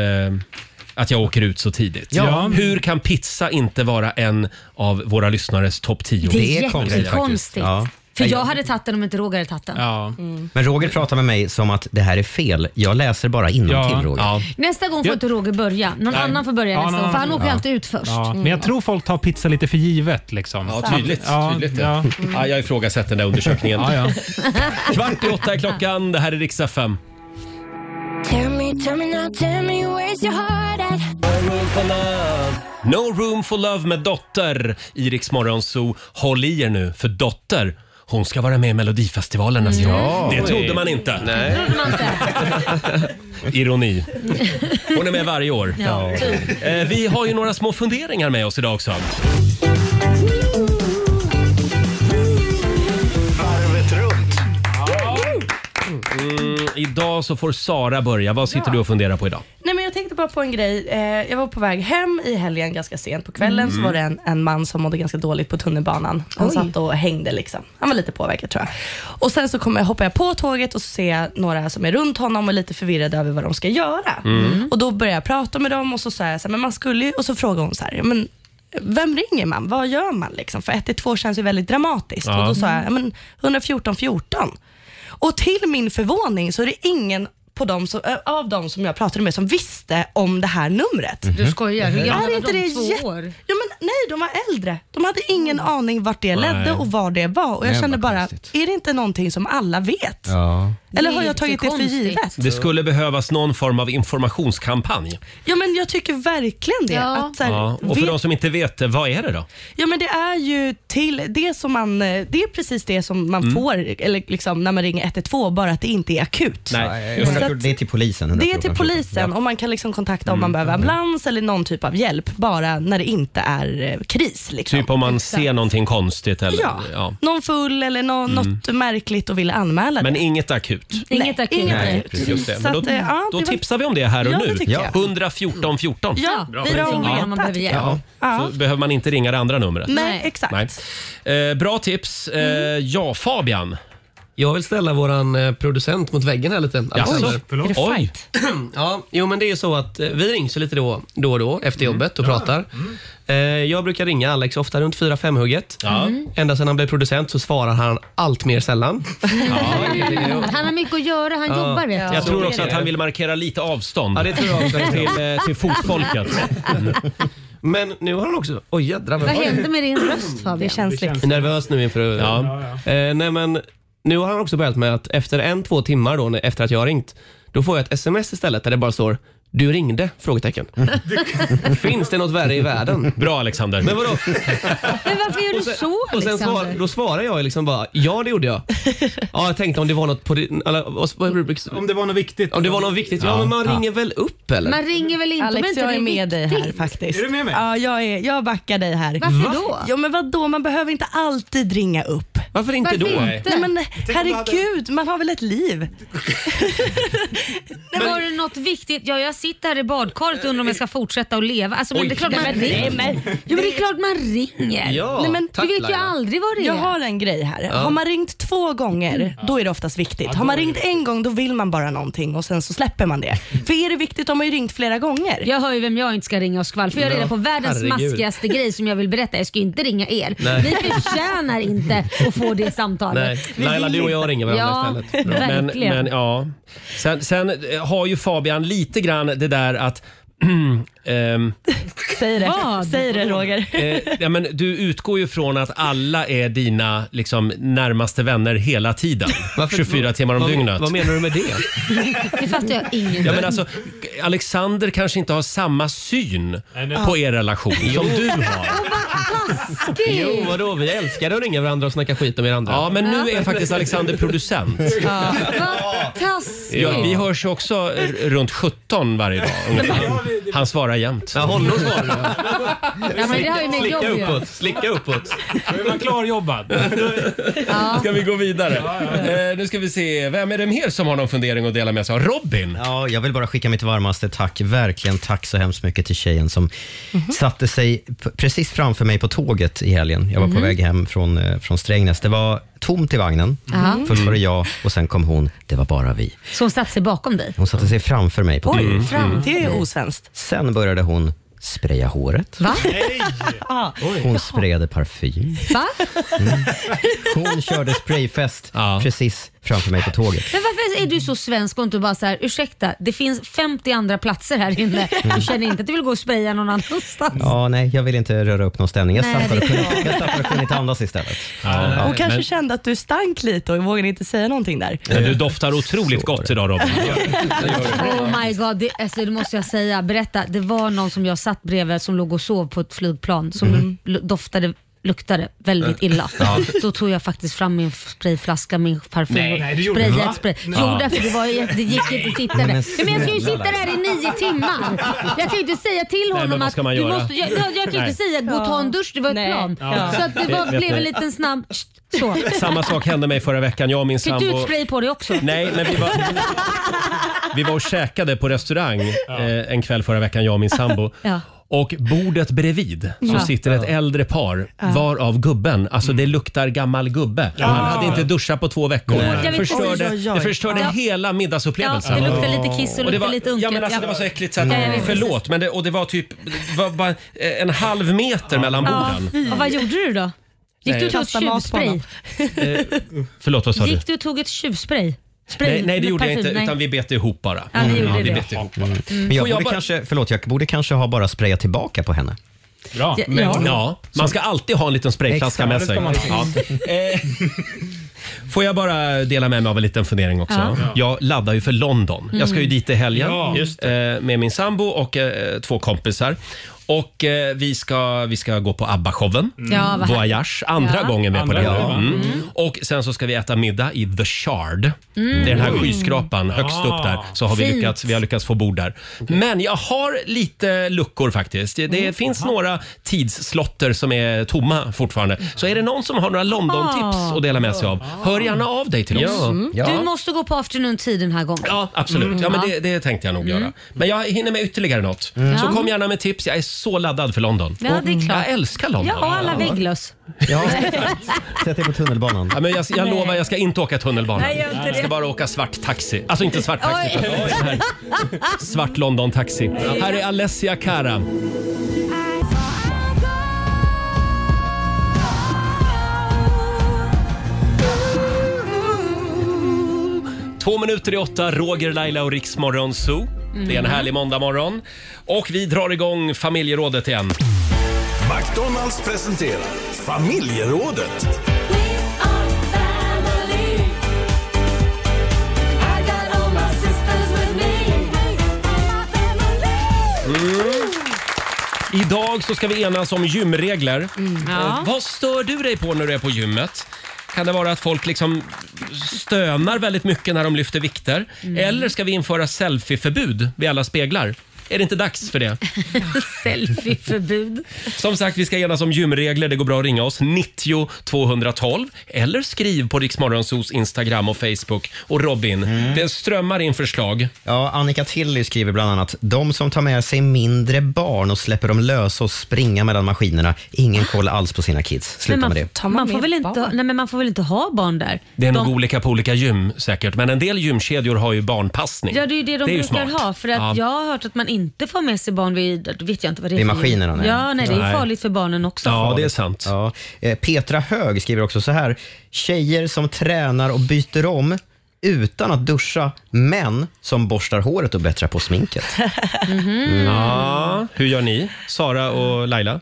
A: att jag åker ut så tidigt.
B: Ja.
A: Hur kan pizza inte vara en av våra lyssnares topp 10?
B: det är jättekonstigt. För jag hade tagit den om inte Roger hade tagit den. Mm.
C: Men Roger pratar med mig som att det här är fel. Jag läser bara innantill
H: Ja.
C: Roger.
B: Nästa gång får
H: Jag-
B: inte Roger börja. Någon
H: Nej.
B: annan får börja
H: Ja,
B: nästa
H: någon
B: gång. För
H: annan
B: han
H: får-
B: åker ju
H: ja.
B: alltid ut först.
H: Ja,
B: Mm.
H: men jag tror folk tar pizza lite för givet. Liksom.
A: Ja, tydligt.
H: Ja,
A: tydligt det.
H: ja.
A: Ja, jag ifrågasätter den där undersökningen.
H: Ja, ja.
A: Kvart i åtta är klockan. Det här är riksdag 5.
D: Tell me, tell me now, tell me where's your heart at?
A: No room for love med Dotter i Rix Morgon Zoo. Håll i er nu, för Dotter hon ska vara med i Melodifestivalen nästa
D: Mm.
A: år.
D: Ja.
A: Det trodde man inte.
D: Det trodde man inte.
A: Ironi. Hon är med varje år.
D: Ja, typ.
A: Eh, Vi har ju några små funderingar med oss idag också.
E: Varvet runt.
A: Mm, idag så får Sara börja. Vad sitter du och funderar på idag?
G: Nej, men jag tänkte bara på en grej. Eh, jag var på väg hem i helgen ganska sent på kvällen.
A: Mm.
G: Så var det en, en man som mådde ganska dåligt på tunnelbanan. Han
L: Oj.
G: satt och hängde liksom. Han var lite påverkad tror jag. Och sen så kom jag, hoppar jag på tåget och så ser jag några som är runt honom och är lite förvirrade över vad de ska göra.
L: Mm.
G: Och då börjar jag prata med dem och så säger jag så här, men man skulle ju, och så frågar hon så här, men vem ringer man? Vad gör man? Liksom? För 112 känns ju väldigt dramatiskt.
L: Ja.
G: Och då sa jag, ja, men 114 14. Och till min förvåning så är det ingen på dem som, ö, av dem som jag pratade med som visste om det här numret.
A: Mm.
B: Du skojar. Hur gamla
G: Är
B: var
G: inte
B: de?
G: det
B: Två
G: jätte-
B: år? Mm.
G: Ja, men, nej, de var äldre. De hade ingen aning vart det
L: Nej.
G: ledde och vad det var. Och jag
A: Nej,
G: kände
A: vad
G: bara, är det inte någonting som alla vet?
A: Ja.
G: Eller har jag tagit det för givet?
A: Det skulle behövas någon form av informationskampanj.
G: Ja, men jag tycker verkligen det. Att, så här,
A: Ja. Och för
G: vet-
A: de som inte vet, vad är det då?
G: Ja men det är ju till det som man, eh, det är precis det som man
A: Mm.
G: får eller liksom, när man ringer 112, bara att det inte är akut.
C: Nej,
G: Så att-
C: 100, det är till polisen.
G: det är till polisen och man kan liksom kontakta
A: Mm,
G: om man behöver ambulans eller någon typ av hjälp, bara när det inte är eh, kris. Liksom.
A: Typ om man ser någonting konstigt eller...
G: Ja. Någon full eller nå-
A: Mm.
G: något märkligt och vill anmäla
A: Men
G: det.
A: inget akut.
G: Inget akut. Inget
A: Nej,
G: akut.
A: just det.
G: Så
A: Men då,
G: att, eh, ja,
A: då
G: det var-
A: tipsar vi om det här och
G: Ja, det
A: nu.
G: tycker jag.
A: 114 14.
G: Ja,
A: Bra.
G: vi ringer om
A: Ja.
G: man behöver hjälp.
A: Ja.
G: Ja.
A: Så behöver man inte ringa det andra numret.
G: Nej, exakt.
A: Nej. Eh, bra tips. Eh, ja, Fabian.
I: Jag vill ställa våran eh, producent mot väggen här lite.
A: Jaså?
I: Alexander.
A: Förlåt. Är det Oj.
I: ja, jo men det är så att eh, vi rings ju lite då då, och då
A: Mm.
I: efter jobbet och pratar. Eh, jag brukar ringa Alex ofta runt 4-5-hugget.
B: Mm.
I: Ända sedan han blev producent så svarar han allt mer sällan.
B: Han har mycket att göra, han
I: Ja.
B: jobbar vet
A: Jag tror också att han vill markera lite avstånd.
I: Ja, det tror jag också.
A: Till, eh,
I: [laughs]
A: till fotfolket.
I: Men nu har han också... Oj jädrar.
B: Vad
I: oj.
B: hände med din röst Fabian? Det
G: känns
I: Jag är nervös nu inför... Ja. Eh, nej, men nu har han också börjat med att efter en, två timmar då, när- efter att jag har ringt, då får jag ett sms istället där det bara står du ringde? Frågetecken. Finns det något värre i världen?
A: Bra Alexander.
I: Men
B: [laughs]
I: vadå?
B: Men varför gör du så
I: Och sen svar,
B: Alexander?
I: då svarar jag liksom bara ja det gjorde
B: [laughs]
I: jag. Ja jag tänkte om det var något på din, eller, vad- vad- Om det var något viktigt. Om det var något viktigt. Ja,
G: Ja.
I: men man
G: Ja.
I: ringer väl upp eller?
B: Man ringer väl inte om
G: Alex,
B: inte
G: jag
B: det
G: är med dig här
B: viktigt?
G: faktiskt. Är du med mig? Ja, jag, är, jag backar dig här.
B: Varför Va? då?
G: Ja, men vadå? Man behöver inte alltid ringa upp.
I: Varför inte Varför då? inte?
G: Nej, men,
I: Tänk om du hade-
G: herregud, man har väl ett liv?
B: Men var det något viktigt? Ja, jag sitter här i badkaret och undrar om jag ska fortsätta att leva. Alltså, men
G: Oj.
B: det är klart man
G: Nej, men-
B: ringer.
G: nej, men-
B: jo, men det är klart man ringer.
G: Ja,
B: nej, men,
G: tack,
B: du vet ju
G: Laila.
B: aldrig vad det är.
G: Jag har en grej här.
B: Ja.
G: Har man ringt två gånger, Mm. då är det oftast viktigt. Har man ringt en gång, då vill man bara någonting och sen så släpper man det. För är det viktigt, de har ju ringt flera gånger.
B: Jag hör ju vem jag inte ska ringa och skvall för jag har
G: Ja,
B: reda på världens
G: herregud.
B: maskigaste grej som jag vill berätta. Jag ska ju inte ringa er.
I: Nej.
B: Ni förtjänar inte att få [laughs] det samtalet.
A: Nej. Laila, du och jag ringer varandra
B: ja,
A: istället. Bra.
B: Verkligen.
A: Men, men, ja. sen, sen eh, har ju Fabian lite grann det där att [clears throat] ehm,
G: Säg det. Säg det Roger.
A: eh, ja, men du utgår ju från att alla är dina liksom, närmaste vänner hela tiden. 24 timmar om
I: vad-
A: dygnet.
I: vad menar du med
A: [laughs]
I: det?
B: Det fattar jag ingenting.
A: Ja, men alltså, Alexander kanske inte har samma syn
I: nej.
A: på er relation som du har.
I: Jo vadå, vi älskar att ringa varandra och snacka skit om er andra.
A: Ja, men nu är faktiskt Alexander producent.
B: Ja. Vad taskigt.
A: Ja, vi hörs ju också r- runt 17 varje dag ungefär. Han svarar jämt. Ja,
I: honom svarar
B: Ja, men det har ju med jobb att göra.
I: slicka uppåt.
H: Då är man
I: [laughs]
H: klarjobbad.
A: Ska vi gå vidare? Eh, nu ska vi se, vem är det mer som har någon fundering att dela med sig av? Robin?
C: Ja, jag vill bara skicka mitt varmaste tack. Verkligen tack så hemskt mycket till tjejen som satte sig p- precis framför mig på tåget i helgen. Jag var
D: Mhm.
C: på väg hem från, eh, från Strängnäs. Det var tomt i vagnen.
B: Ja.
C: Först var det jag och sen kom hon. Det var bara vi.
B: Så hon satte sig bakom dig?
C: Hon satte sig framför mig på
B: Oj,
A: Mm,
C: tåget.
B: fram. Det är ju
G: osvenskt.
C: Sen började hon spraya håret.
B: Va?
G: Ja.
C: Hon sprayade parfym.
B: Va?
C: Hon körde sprayfest precis framför mig på tåget.
B: Men varför är du så svensk och inte bara så här, ursäkta, det finns 50 andra platser här inne. Du känner inte att du vill gå och spraya någon annanstans?
C: Ja, nej, jag vill inte röra upp någon stämning. Jag
B: Nej,
C: stappar
B: det är
C: och
B: bra.
C: kunde- jag stappar och kunde inte andas istället. Ja,
G: Hon kanske
C: men-
G: kände att du stank lite och vågade inte säga någonting där.
A: Men du doftar otroligt gott idag Robin.
B: Oh my god, det, alltså, det måste jag säga. Berätta, det var någon som jag satt bredvid som låg och sov på ett flygplan som
A: Mm.
B: lu- doftade luktade väldigt illa.
A: Ja.
B: Då tog jag faktiskt fram min sprayflaska, min parfym
D: Nej,
B: och
D: nej, du gjorde det,
B: sprayade
D: va?
B: ett spray.
D: Nej.
B: Jo,
D: Ja.
B: därför det, var, ju- det gick inte att sitta
D: Nej,
B: där.
D: men
B: Men jag ska ju
D: snälla.
B: sitta där i nio timmar. Jag kan ju inte säga till
D: Nej, men
B: honom
D: vad
B: att
D: ska man
B: du
D: göra?
B: måste... Jag, jag, jag kan ju
A: Nej.
B: inte säga gå och ta en dusch, det var ett plan.
A: Ja.
B: Så att det
A: Vet-
B: var,
A: vet
B: blev en
A: ni-
B: liten snabb... Så.
A: Samma sak hände mig förra veckan. Jag och min
B: Fick du
A: sambo...
B: ut spray på dig också?
A: Nej, men vi var, vi var och käkade på restaurang eh, en kväll förra veckan, jag och min sambo.
B: Ja.
A: Och bordet bredvid så
D: Ja.
A: sitter ett äldre par,
D: Ja.
A: varav gubben. Alltså det luktar gammal gubbe.
D: Ja.
A: Han hade inte duschat på två veckor.
D: Nej.
A: Det
D: Jag vet precis.
A: förstörde,
D: Oj, oj, oj.
A: det förstörde
D: Ja.
A: hela middagsupplevelsen.
D: Ja, det luktar lite kiss och
A: det
D: luktar
A: var,
D: lite
A: Ja,
D: unket,
A: men alltså,
D: ja.
A: det var så äckligt så att,
D: Ja, jag vet
A: förlåt, men det, och det var typ det var bara en halv meter mellan borden.
B: Ja, och vad gjorde du då? Gick
A: Nej.
B: du och tog ett
A: Kasta mat på
B: tjuvspray?
A: honom. Eh, förlåt, vad sa du?
B: Gick du och tog ett tjuvspray? Spray
A: Nej, nej, det
B: med
A: gjorde jag
B: parfym?
A: inte,
B: Nej.
A: utan vi bet ihop bara.
B: Ja, ni gjorde
A: vi
B: det.
A: bet ihop bara.
B: Mm.
C: Men jag
A: Får jag
C: borde,
A: bara-
C: kanske, förlåt, jag borde kanske ha bara sprayat tillbaka på henne.
A: Bra.
C: Ja.
A: Men, ja. man ska alltid ha en liten sprayflaska med sig.
C: Exakt.
A: Ja. Eh, Får jag bara dela med mig av en liten fundering också?
D: Ja. Ja.
A: Jag laddar ju för London.
D: Mm.
A: Jag ska ju dit i helgen
D: Ja. Just
A: eh, med min sambo och eh, två kompisar. Och eh, vi ska, vi ska gå på ABBA-showen,
D: Mm. Ja, vad härligt.
A: Voyage, andra
D: Ja.
A: gången med
D: Andra
A: på den.
D: gången, va?
A: Mm.
D: Mm.
A: Och sen så ska vi äta middag i The Shard.
D: Mm.
A: Det är den här
D: Mm.
A: skyskrapan högst upp där. Så har vi
D: Fint.
A: lyckats, vi har lyckats få bord där. Men jag har lite luckor faktiskt. Det,
B: Mm.
A: det finns några tidsslotter som är tomma fortfarande. Så är det någon som har några London-tips
B: Ah.
A: att dela med sig av, hör gärna av dig till oss.
B: Mm. Du Mm. måste gå på afternoon tea den här gången.
A: Ja, absolut. Ja, men det, det tänkte jag nog göra. Men jag hinner med ytterligare något. Så
B: Mm. Ja.
A: kom gärna med tips. Jag är så laddad för London.
B: Ja, det är klart.
A: Jag älskar London.
B: Ja, och alla vägglöss. [laughs]
A: Sätt dig på tunnelbanan. Ja, men jag jag
B: Nej.
A: lovar, jag ska inte åka tunnelbana.
B: Nej, gör inte
A: jag ska
B: det.
A: bara åka svart taxi. Alltså inte svart taxi.
D: Oj.
A: förlåt. Den här Svart London-taxi. Här är Alessia Cara. Två minuter i åtta, Roger, Laila och Riksmorgon Zoo. Det är en
D: Mm.
A: härlig måndagmorgon. Och vi drar igång familjerådet igen.
E: McDonalds presenterar familjerådet.
A: Idag så ska vi enas om
B: Mm.
A: gymregler.
D: Ja.
A: Eh, Vad stör du dig på när du är på gymmet? Kan det vara att folk liksom stönar väldigt mycket när de lyfter vikter?
B: Mm.
A: Eller ska vi införa selfieförbud vid alla speglar? Är det inte dags för det?
B: [laughs] [laughs] Selfieförbud.
A: Som sagt, vi ska enas om gymregler. Det går bra att ringa oss. 90 212 eller skriv på Riksmorgonsos Instagram och Facebook. Och Robin, det strömmar in förslag.
C: Ja, Annika Tilly skriver bland annat, de som tar med sig mindre barn och släpper dem lösa och springa mellan maskinerna, ingen koll alls på sina kids.
B: Men
C: Sluta
B: man,
C: med det.
B: man, får väl inte, nej, men man får väl inte ha barn där?
A: Det är
B: de,
A: nog olika på olika gym säkert, men en del gymkedjor har ju barnpassning.
B: Ja, det är ju det de
A: ju
B: brukar
A: smart.
B: ha. För att
A: Ja.
B: Jag har hört att man inte får med sig barn vid... Då vet jag inte vad det är
C: Vid
B: för-
C: maskinerna, nej.
B: Ja, nej, det är
C: Nej.
B: farligt för barnen också.
A: sant.
C: Ja. Eh, Petra Hög skriver också så här. Tjejer som tränar och byter om utan att duscha, men som borstar håret och bättrar på sminket.
B: Mhm.
A: Ja, hur gör ni? Sara och Laila?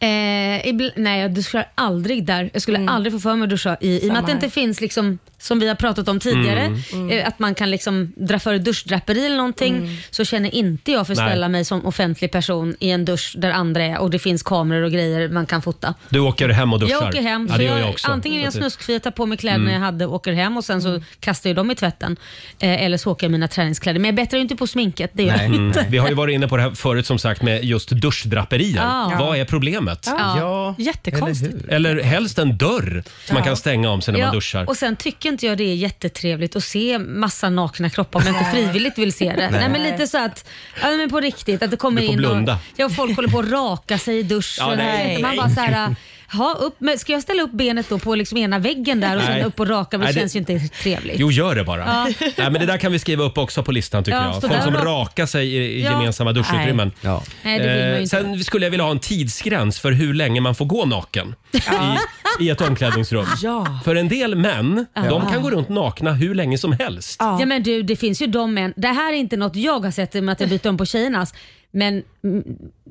B: Eh, ibl- nej, jag duschar aldrig där. Jag skulle aldrig få för mig att duscha i, i och med
G: Mm. Samma
B: att det inte
G: här.
B: finns, liksom, som vi har pratat om tidigare,
G: Mm. Mm.
B: eh, att man kan liksom dra för duschdraperi eller någonting, så känner inte jag för att
A: Nej.
B: ställa mig som offentlig person i en dusch där andra är och det finns kameror och grejer man kan fota.
A: Du åker hem och duschar?
B: Jag åker hem.
A: Ja,
B: så
A: det gör
B: jag,
A: jag också.
B: Antingen är jag
A: Så att det-
B: snuskfri, jag tar på mig kläderna
A: Mm.
B: jag hade och åker hem och sen
G: Mm.
B: så kastar jag dem i tvätten. Eh, eller så åker jag mina träningskläder. Men jag bättrar ju inte på sminket, det gör jag
A: Mm.
B: inte.
A: Vi har ju varit inne på det här förut som sagt med just duschdraperier.
B: Ja.
A: Vad är problemet?
B: Ja. Jättekonstigt.
A: Eller helst en dörr som man
B: Ja.
A: kan stänga om sig när
B: ja,
A: man duschar.
B: Och sen tycker inte jag det är jättetrevligt att se massa nakna kroppar om jag inte frivilligt vill se det.
A: Nej.
B: Nej. men lite så att, ja men på riktigt, att det kommer
A: Du får
B: in
A: blunda.
B: och ja, folk håller på att raka sig i duschen.
A: Ja,
B: och
A: nej.
B: vet, Man
A: Nej.
B: bara så här, ha, upp med, ska jag ställa upp benet då på liksom ena väggen där och
A: Nej.
B: sen upp och raka mig?
A: Nej,
B: Det
A: det-
B: känns ju inte trevligt.
A: Jo, gör det bara.
B: Ja.
A: Nej, men det där kan vi skriva upp också på listan tycker
B: Ja,
A: jag.
B: stå
A: Folk
B: där
A: som
B: och-
A: rakar sig i, i
B: Ja.
A: gemensamma duschutrymmen.
B: Nej, det vill man ju
A: Eh,
B: inte.
A: sen skulle jag vilja ha en tidsgräns för hur länge man får gå naken i ett omklädningsrum.
B: [laughs] Ja.
A: För en del män,
B: Ja.
A: de kan gå runt nakna hur länge som helst.
B: Ja. men du, det finns ju de män. Det här är inte något jag har sett i och med att jag bytt om på tjejernas. Men mm,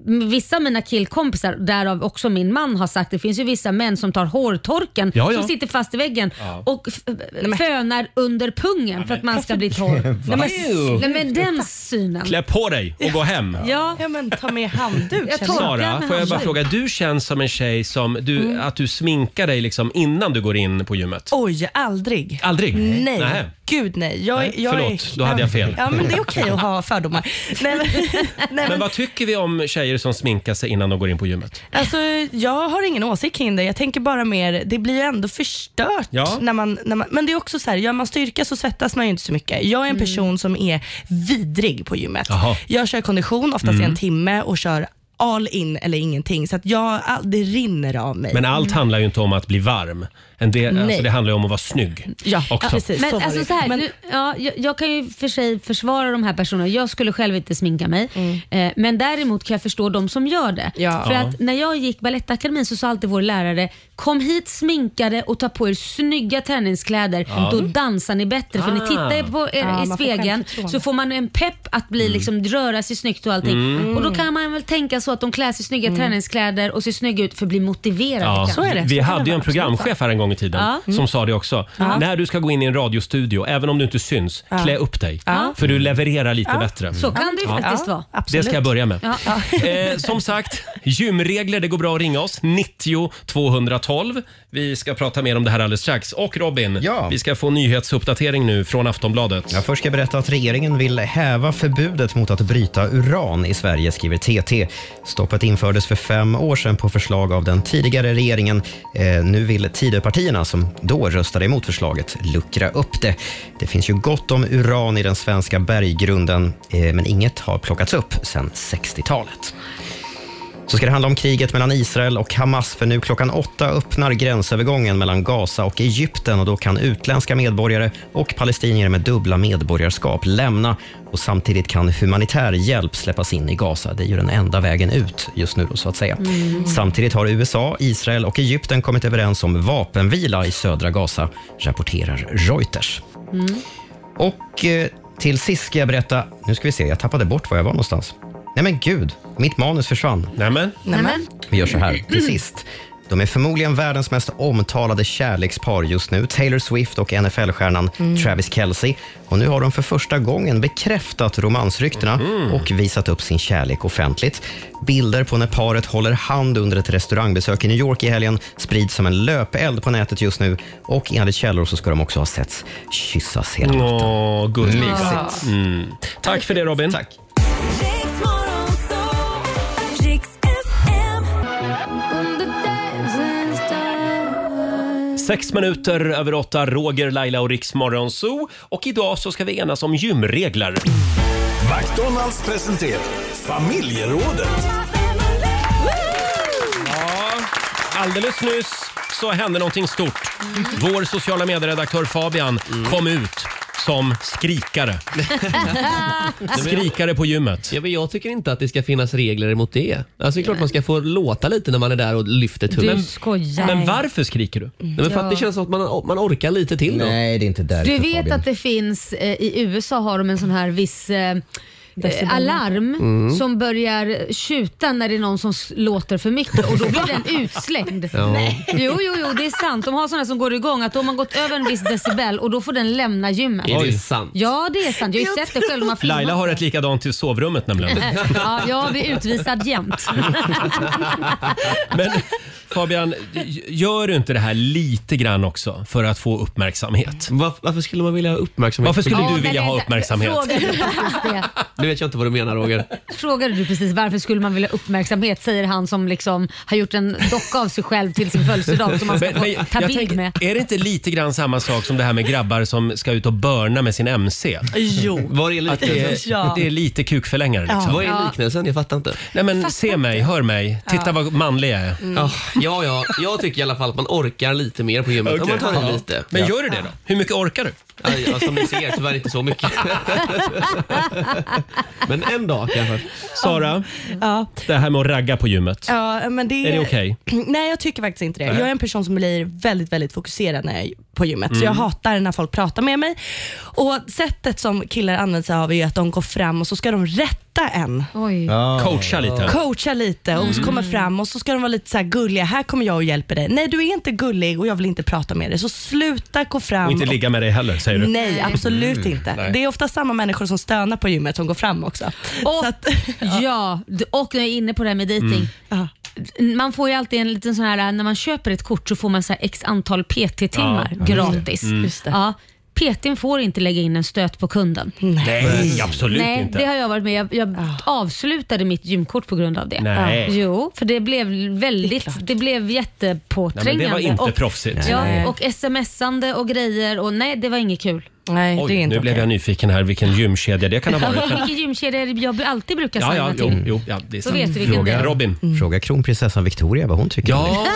B: m- vissa av mina killkompisar, därav också min man, har sagt det finns ju vissa män som tar hårtorken
D: Ja, ja.
B: som sitter fast i väggen
D: Ja.
B: och f- fönar under pungen för att man ska
D: [laughs]
B: bli torr.
A: Va?
B: Nej, men,
A: Ew.
B: nej, men den synen.
A: Klä på dig och gå hem.
B: Ja.
G: ja, men ta med handduk.
B: Jag torkar
A: Sara,
B: med
A: får jag bara
B: handduk.
A: fråga, du känns som en tjej som du,
G: Mm.
A: att du sminkar dig liksom innan du går in på gymmet.
G: Oj, aldrig.
A: Aldrig?
G: Nej.
A: Nähä.
G: Gud nej. Jag,
A: Nej,
G: jag
A: förlåt. Då hade jag fel.
G: Ja, men det är okej att ha fördomar. Nej, men, [laughs] nej,
A: Men
G: men,
A: vad tycker vi om tjejer som sminkar sig innan de går in på gymmet?
G: alltså, jag har ingen åsikt kring det. Jag tänker bara mer, det blir ju ändå förstört.
A: Ja.
G: När man, när man, men det är också så här, gör man styrka så svettas man ju inte så mycket. Jag är
B: Mm.
G: en person som är vidrig på gymmet.
D: Jaha.
G: Jag kör kondition, oftast i
A: Mm.
G: en timme, och kör all in eller ingenting. Så att jag, all- det rinner av mig.
A: Men
B: Mm.
A: allt handlar ju inte om att bli varm. En del,
G: Nej.
A: alltså det handlar ju om att vara snygg.
G: Ja,
A: också.
B: Men alltså så här, nu, ja, jag, jag kan ju för sig försvara de här personerna. Jag skulle själv inte sminka mig. Eh, men däremot kan jag förstå de som gör det. För
D: Ja.
B: att när jag gick Balettakademin så sa alltid vår lärare, kom hit sminkade och ta på er snygga träningskläder.
D: Ja.
B: Då dansar ni bättre. För
D: Ah.
B: ni tittar ju på er
D: Ja, man
B: i
D: får
B: spegeln
D: självförtroende.
B: så får man en pepp att bli, liksom, röra sig snyggt och allting.
A: Mm.
B: Och då kan man väl tänka så att de klär sig i snygga träningskläder och ser snygga ut för att bli motiverade. liksom.
A: Ja,
B: kanske.
A: Vi hade ju en programchef här en gång i tiden
B: Ja.
A: som sa det också.
B: Ja.
A: När du ska gå in i en radiostudio, även om du inte syns,
B: Ja.
A: klä upp dig.
B: Ja.
A: För du levererar lite
B: Ja,
A: bättre. Mm.
B: så kan det ju faktiskt vara.
A: Det ska jag börja med.
B: Ja.
A: [laughs] Eh, som sagt, gymregler, det går bra att ringa oss. 90 212. Vi ska prata mer om det här alldeles strax. Och Robin, vi ska få nyhetsuppdatering nu från Aftonbladet.
C: Jag först ska jag berätta att regeringen vill häva förbudet mot att bryta uran i Sverige, skriver TT. Stoppet infördes för fem år sedan på förslag av den tidigare regeringen. Eh, nu vill Tidöpartierna, som då röstade emot förslaget, luckra upp det. Det finns ju gott om uran i den svenska berggrunden, eh, men inget har plockats upp sedan 60-talet. Så ska det handla om kriget mellan Israel och Hamas, för nu klockan åtta öppnar gränsövergången mellan Gaza och Egypten och då kan utländska medborgare och palestinier med dubbla medborgarskap lämna och samtidigt kan humanitär hjälp släppas in i Gaza. Det är ju den enda vägen ut just nu då, så att säga.
D: Mm.
C: Samtidigt har USA, Israel och Egypten kommit överens om vapenvila i södra Gaza, rapporterar Reuters. Och eh, till sist ska jag berätta, nu ska vi se, jag tappade bort var jag var någonstans. Nej men gud, mitt manus försvann.
A: Nämen.
D: Nämen.
C: Vi gör så här till sist. De är förmodligen världens mest omtalade kärlekspar just nu. Taylor Swift och NFL-stjärnan Travis Kelce. Och nu har de för första gången bekräftat romansryktena och visat upp sin kärlek offentligt. Bilder på när paret håller hand under ett restaurangbesök i New York i helgen sprids som en löpeld på nätet just nu. Och enligt källor så ska de också ha setts kyssas
A: Mm.
C: hela natten.
A: Åh, gulligt. Mm.
C: Mysigt.
A: Tack för det Robin.
C: Tack.
A: Sex minuter över åtta, Roger, Laila och Riks Morgonzoo. Och idag så ska vi enas om gymregler.
E: McDonalds presenterar familjerådet.
A: Alldeles nyss så hände någonting stort. Vår sociala medieredaktör Fabian kom ut som skrikare. Skrikare på gymmet.
I: Ja, men jag tycker inte att det ska finnas regler emot det. Alltså, det är klart man ska få låta lite när man är där och lyfter tummen.
B: Du skojar.
I: Men varför skriker du? Nej, men för att det
B: Ja.
I: känns som att man, man orkar lite till då.
C: Nej, det är inte därför
B: Du vet att det finns, eh, i USA har de en sån här viss eh,
D: Decibel.
B: eh, alarm
D: Mm.
B: som börjar tjuta när det är någon som s- låter för mycket och då blir den utslängd.
D: Ja.
B: Nej. Jo, jo, jo, det är sant. De har såna som går igång att om man gått över en viss decibel och då får den lämna gymmet.
A: Är det Oj. sant?
B: Ja, det är sant. Jag har ju sett det själv. Man filmar.
A: Laila har ett likadant i sovrummet nämligen. [laughs]
B: ja, jag blir utvisad jämt.
A: Men Fabian, j- gör du inte det här lite grann också för att få uppmärksamhet?
I: varför skulle man vilja ha uppmärksamhet?
A: Varför skulle
B: Ja,
A: du
B: men
A: vilja ha
B: vänta.
A: uppmärksamhet?
B: [laughs] Frågar du precis det?
I: Nu vet jag inte vad du menar Roger.
B: Frågade du precis varför skulle man vilja ha uppmärksamhet, säger han som liksom har gjort en docka av sig själv till sin födelsedag som man ska
A: Men- men
B: få ta
A: jag
B: bild
A: tänker,
B: med.
A: Är det inte lite grann samma sak som det här med grabbar som ska ut och börna med sin MC?
I: Jo. Var är
A: Att det, är,
I: liknelsen? Ja.
A: det är lite kukförlängare. Liksom.
I: Vad är liknelsen? Jag fattar inte.
A: Nej, men se mig, hör mig, titta
I: Ja.
A: vad manlig jag
J: Mm.
A: är.
B: Mm.
I: Ah, Ja, ja, jag tycker i alla fall att man orkar lite mer på gymmet. Om man tar i lite.
A: Men gör du det då? Hur mycket orkar du?
I: Ja, ja, som ni ser, tyvärr inte så mycket. Men en dag kanske.
A: Sara,
G: Ja.
A: det här med att ragga på gymmet.
G: Ja, men det,
A: Är det okej?
G: [clears throat] Nej, jag tycker faktiskt inte det.
A: Nej.
G: Jag är en person som blir väldigt, väldigt fokuserad när jag är på gymmet. Så
A: Mm.
G: jag hatar när folk pratar med mig. Och Sättet som killar använder sig av är ju att de går fram och så ska de rätta en.
A: Ja. Mm. Coacha lite.
G: Coacha lite och så kommer fram och så ska de vara lite så här gulliga. Här kommer jag och hjälper dig. Nej, du är inte gullig och jag vill inte prata med dig. Så sluta gå fram.
A: Och inte ligga med dig heller, säger du?
G: Nej, absolut
A: Mm.
G: inte.
A: Nej.
G: Det är ofta samma människor som stönar på gymmet som går fram också.
B: Och,
G: [laughs]
B: ja. d- och när jag är inne på det här med
A: Mm.
B: dating. Man får ju alltid en liten sån här, när man köper ett kort så får man så här x antal PT-timmar
A: Ja, just det.
B: gratis.
A: Mm.
G: Just det.
B: Ja, PTn får inte lägga in en stöt på kunden.
A: Nej, absolut
B: Nej,
A: inte.
B: det har jag varit med Jag, jag avslutade mitt gymkort på grund av det.
A: Nej.
B: Jo, för det blev väldigt, det, blev
A: Nej, men
B: jättepåträngande.
A: det var inte
B: och,
A: proffsigt.
B: Ja, och smsande och grejer och nej, det var inget kul.
G: Nej,
A: Oj, nu blev jag nyfiken här vilken gymkedja det
B: [laughs]
A: kan ha varit. Men-
B: Vilken gymkedja är det jag alltid brukar
A: Ja,
B: säga
A: ja,
B: till?
A: jo, jo, ja, det är
B: Då
A: sant.
B: vet du vilken det är.
A: Robin.
C: Fråga kronprinsessan Victoria vad hon tycker
A: [laughs] Ja.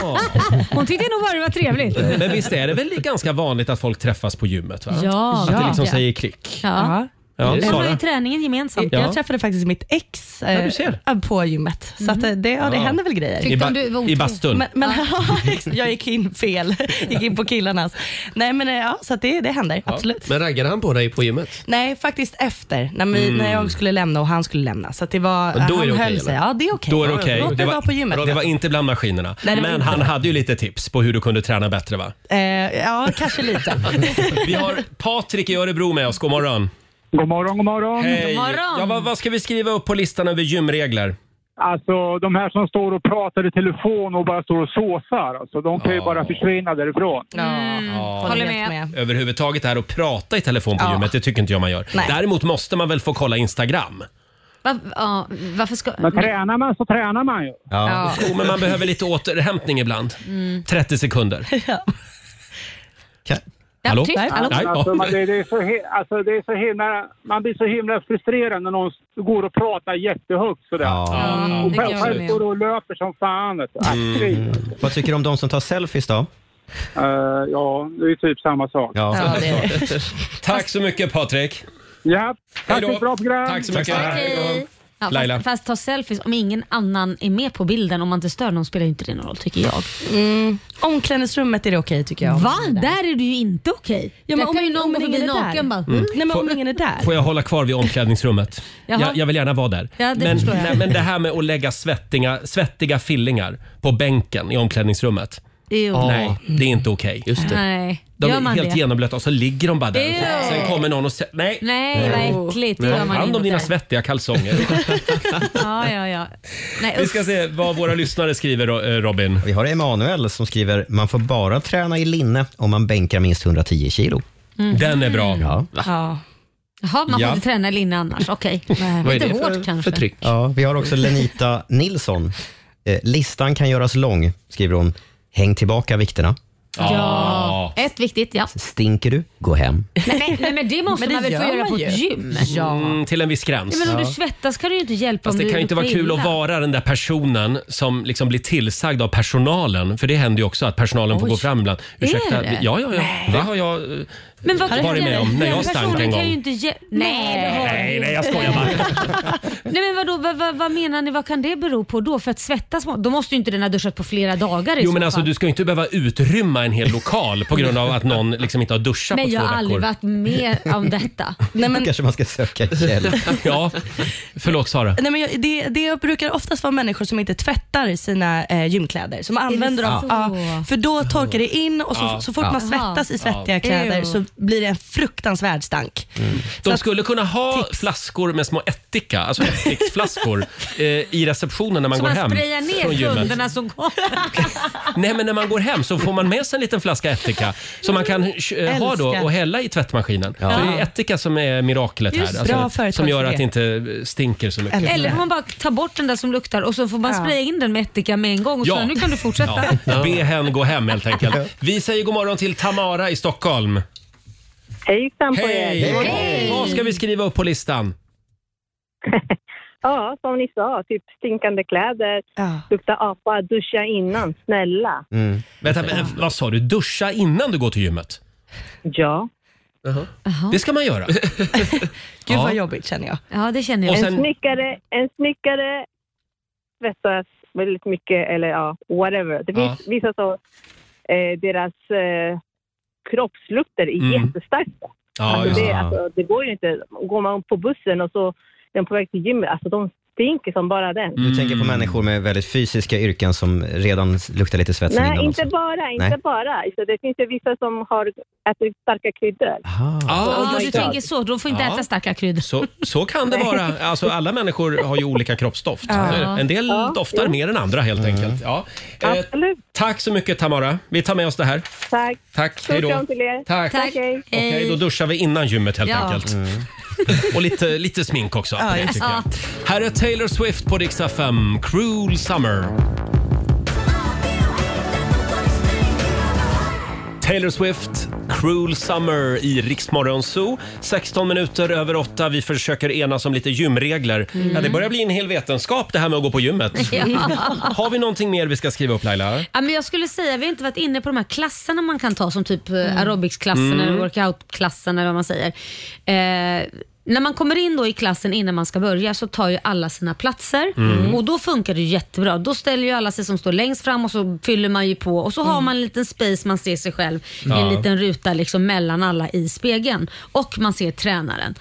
B: Hon tyckte nog bara det var trevligt.
A: Men visst är det väl ganska vanligt att folk träffas på gymmet? Va?
B: Ja.
A: Att det liksom
B: Ja.
A: säger klick. Eh,
B: Ja.
A: Ja,
G: Det
B: De har
A: Sara.
B: ju träningen gemensamt.
A: Ja.
G: Jag träffade faktiskt mitt ex eh,
A: du ser. Mm.
G: eh, på gymmet. Så att eh, det, ja, det
A: Ja.
G: händer väl grejer.
A: Tyckte I ba- om du var otrogen? i bastun?
G: Men, men, [laughs] jag gick in fel. [laughs] gick in på killarnas. Nej men eh, ja, så att det, det händer. Absolut.
I: Men raggade han på dig på gymmet?
G: Nej, faktiskt efter. När, vi,
I: Mm.
G: när jag skulle lämna och han skulle lämna. Så att det var,
I: Men då är
G: han
I: det okej,
G: höll sig.
I: eller?
G: Ja, det är okej.
A: Då är det okej.
G: Låt mig
A: Det,
G: vara på
A: var-
G: gymmet.
A: det var inte bland maskinerna.
G: Nej, det var
A: Men
G: inte
A: han
G: det.
A: hade ju lite tips på hur du kunde träna bättre va?
G: Eh, ja, kanske lite.
A: [laughs] Vi har Patrik i Örebro med oss. God morgon.
M: [laughs] God morgon, god morgon.
A: Hej.
M: God morgon.
A: Ja, vad, vad ska vi skriva upp på listan över gymregler?
M: Alltså de här som står och pratar i telefon och bara står och såsar, alltså, de kan ju bara försvinna därifrån.
A: Ja.
B: Håller med.
A: Överhuvudtaget det här att prata i telefon på
B: Ja.
A: gymmet, det tycker inte jag man gör.
B: Nej.
A: Däremot måste man väl få kolla Instagram?
B: Va, ja, varför ska...
M: Men tränar man så tränar man ju.
A: Ja. Jo, men man behöver lite återhämtning ibland.
B: Mm.
A: 30
B: [laughs]
A: sekunder.
B: Ja,
A: Hallå?
B: tyst. Hallå?
A: Nej.
M: Alltså, man, det, det är så, he- alltså, det är så himla, man blir så himla frustrerad när någon går och pratar jättehögt sådär.
C: Ja, Mm,
M: och
C: det kan jag
M: själv
C: med.
M: står och löper som fan. vet du.
C: Mm. Vad tycker du om de som tar selfies då?
M: Eh, ja, det är typ samma sak.
C: Ja,
A: det [laughs] Tack så mycket Patrik.
M: Ja,
A: Hej
M: tack
A: då.
M: för ett bra program.
A: Tack så mycket.
B: Okej. Ja,
A: Laila.
B: fast, fast ta selfies om ingen annan är med på bilden, om man inte stör någon spelar ju inte det någon roll tycker jag.
G: Mm. Omklädningsrummet är det okej tycker jag.
B: Va? Där är du ju inte okej.
G: Ja, men
B: Där
G: om
B: kan ju
G: ingen-
B: någon
G: om
B: gå
G: ingen
B: förbi
G: är där.
B: naken bara.
A: Mm.
G: Nej, men om
A: Får-
G: ingen är där.
A: Får jag hålla kvar vid omklädningsrummet?
B: Jaha.
A: jag, jag vill gärna vara där.
B: Ja, det
A: men,
B: förstår jag.
A: nej, [laughs] men det här med att lägga svettiga, svettiga fillingar på bänken i omklädningsrummet.
B: Jo.
A: Nej, det är inte okej. Just
B: Nej.
A: De
B: Gör
A: är
B: man
A: helt
B: det?
A: genomblöta och så ligger de bara där.
B: Ew.
A: Sen kommer någon och säger nej.
B: Nej, vad äckligt. Det gör man
A: Hand om
B: inte.
A: dina svettiga kalsonger.
B: [laughs] Ja, ja, ja. Nej,
A: Vi
B: usch.
A: ska se vad våra lyssnare skriver eh, Robin.
C: Vi har Emanuel som skriver man får bara träna i linne om man bänkar minst 110 kilo.
B: Mhm.
A: Den är bra.
C: Ja.
B: Ja. Jaha, man får
C: Ja.
B: inte träna linne annars. Okej. Lite hårt kanske.
C: Ja, vi har också Lenita Nilsson. Eh, listan kan göras lång, skriver hon. Häng tillbaka vikterna.
B: Ja. Ett viktigt, ja.
C: Stinker du, gå hem.
B: Nej, men, nej, men det måste
G: Men det
B: man väl få
G: gör
B: göra
G: man
B: på ett
G: ju.
B: gym?
A: Mm, till en viss gräns.
B: Nej, men om du svettas kan du ju inte hjälpa
A: Fast
B: om
A: det
B: du
A: kan ju inte vara
B: luktar
A: kul att
B: illa.
A: vara den där personen som liksom blir tillsagd av personalen. För det händer ju också att personalen får
B: Oj.
A: gå fram ibland.
B: Är
A: Ursäkta,
B: det?
A: ja, ja, ja.
B: Nej.
A: Det har jag eh,
B: Men vad
A: varit med om när jag stank en
B: Personen kan ju
A: gång.
B: inte ge- Nej, det har den
A: Nej,
B: ju
A: nej, jag
B: inte.
A: skojar
B: [laughs]
A: bara.
B: Nej men vadå, vad, vad, vad menar ni, vad kan det bero på då? För att svettas, må- då måste ju inte den ha duschat på flera dagar i
A: Jo
B: så
A: men alltså
B: fall.
A: du ska ju inte behöva utrymma en hel lokal på grund av att någon liksom inte har duschat på
B: men
A: två
B: jag har aldrig
A: veckor.
B: varit med
A: [laughs]
B: om detta.
G: Nej, men,
C: [laughs] kanske man ska söka hjälp.
A: ja, förlåt Sara.
G: Nej, men jag, det, det brukar oftast vara människor som inte tvättar sina eh, gymkläder. Som använder dem.
B: så?
G: Ja, för då torkar det in och så,
A: Ja.
G: så fort
A: Ja.
G: man svettas i svettiga
A: Ja.
G: kläder
A: Ew.
G: så blir det en fruktansvärd stank. Så
A: De
G: att-
A: skulle kunna ha flaskor med små ättika, alltså
B: [laughs]
A: ättiksflaskor, eh, i receptionen när man
B: så
A: går
B: man
A: hem
B: sprayar
A: från
B: ner
A: gymmet.
B: kunderna som kommer.
A: Nej, men när man går hem så får man med sig en liten flaska ättika som man kan eh, ha då
B: Älskar.
A: och hälla i tvättmaskinen.
B: Ja.
A: För det är ättika som är miraklet
B: Just
A: här. alltså,
B: det. Bra företagsidé.
A: som gör att det inte eh, stinker så mycket.
B: Eller får man bara ta bort den där som luktar och så får man spraya in den med ättika med en gång och så nu kan du fortsätta.
A: Ja. Be hen gå hem helt enkelt. Vi säger god morgon till Tamara i Stockholm.
N: Hejsan på
A: Hej!
N: er!
A: Vad- Vad ska vi skriva upp på listan?
N: Ja, som ni sa, typ stinkande kläder, lukta apa, duscha innan, snälla.
C: Mm.
A: eh, Vänta, men, vad sa du? Duscha innan du går till gymmet?
N: Ja.
A: Det ska man göra.
G: Gud
A: Ja.
G: vad jobbigt känner jag.
B: Ja, det känner
A: jag. Och
N: En,
A: sen-
N: snickare, en snickare svettas väldigt mycket, eller ja, whatever. Det
A: Ja.
N: finns vissa så, eh, deras eh, kroppslukter är
A: Mm.
N: jättestarka.
A: Ja, just
N: alltså det,
A: det.
N: alltså, det går ju inte. Går man på bussen och så är de på väg till gymmet, alltså de stinker som bara den.
A: Mm,
C: Du tänker på människor med väldigt fysiska yrken som redan s- luktar lite svett sen
N: Nej,
C: innan
N: inte
C: också.
N: bara. Inte
C: Nej.
N: bara. Så det finns ju vissa som har ätit starka kryddor.
A: Ah.
B: Ja,
A: just
B: du
A: det.
B: tänker så. De får inte
A: Ja.
B: äta starka kryddor.
A: Så, så kan det vara. Alltså, alla människor har ju olika kroppsdoft.
B: Ja.
A: Så är det. En del
B: Ja,
A: doftar
B: ja.
A: mer än andra helt enkelt. Ja. Eh, tack så mycket Tamara. Vi tar med oss det här.
N: Tack.
A: Tack, hej då.
N: till er.
A: Tack.
B: Tack.
A: Okej,
B: Hej.
A: då duschar vi innan gymmet helt
B: Eh, Ja.
A: enkelt. [laughs] Och lite, lite smink också.
B: Ja,
A: på det,
B: just
A: tycker jag.
B: det.
A: Här är Taylor Swift på Dix FM, Cruel Summer. Taylor Swift, Cruel Summer i Riksmorgon Zoo. 16 minuter över 8. Vi försöker enas om lite gymregler.
B: Mm.
A: Ja, det börjar bli en hel vetenskap det här med att gå på gymmet.
B: [laughs] Ja. Eh.
A: Har vi någonting mer vi ska skriva upp Laila?
B: Ja, men jag skulle säga, vi har inte varit inne på de här klasserna man kan ta som typ mm. aerobicsklassen
A: Mm.
B: eller workoutklassen eller vad man säger. Eh, när man kommer in då i klassen innan man ska börja så tar ju alla sina platser
L: Mm.
B: och då funkar det ju jättebra. Då ställer ju alla sig som står längst fram och så fyller man ju på och så har man en liten space, man ser sig själv i
L: Ja.
B: en liten ruta liksom mellan alla i spegeln och man ser tränaren.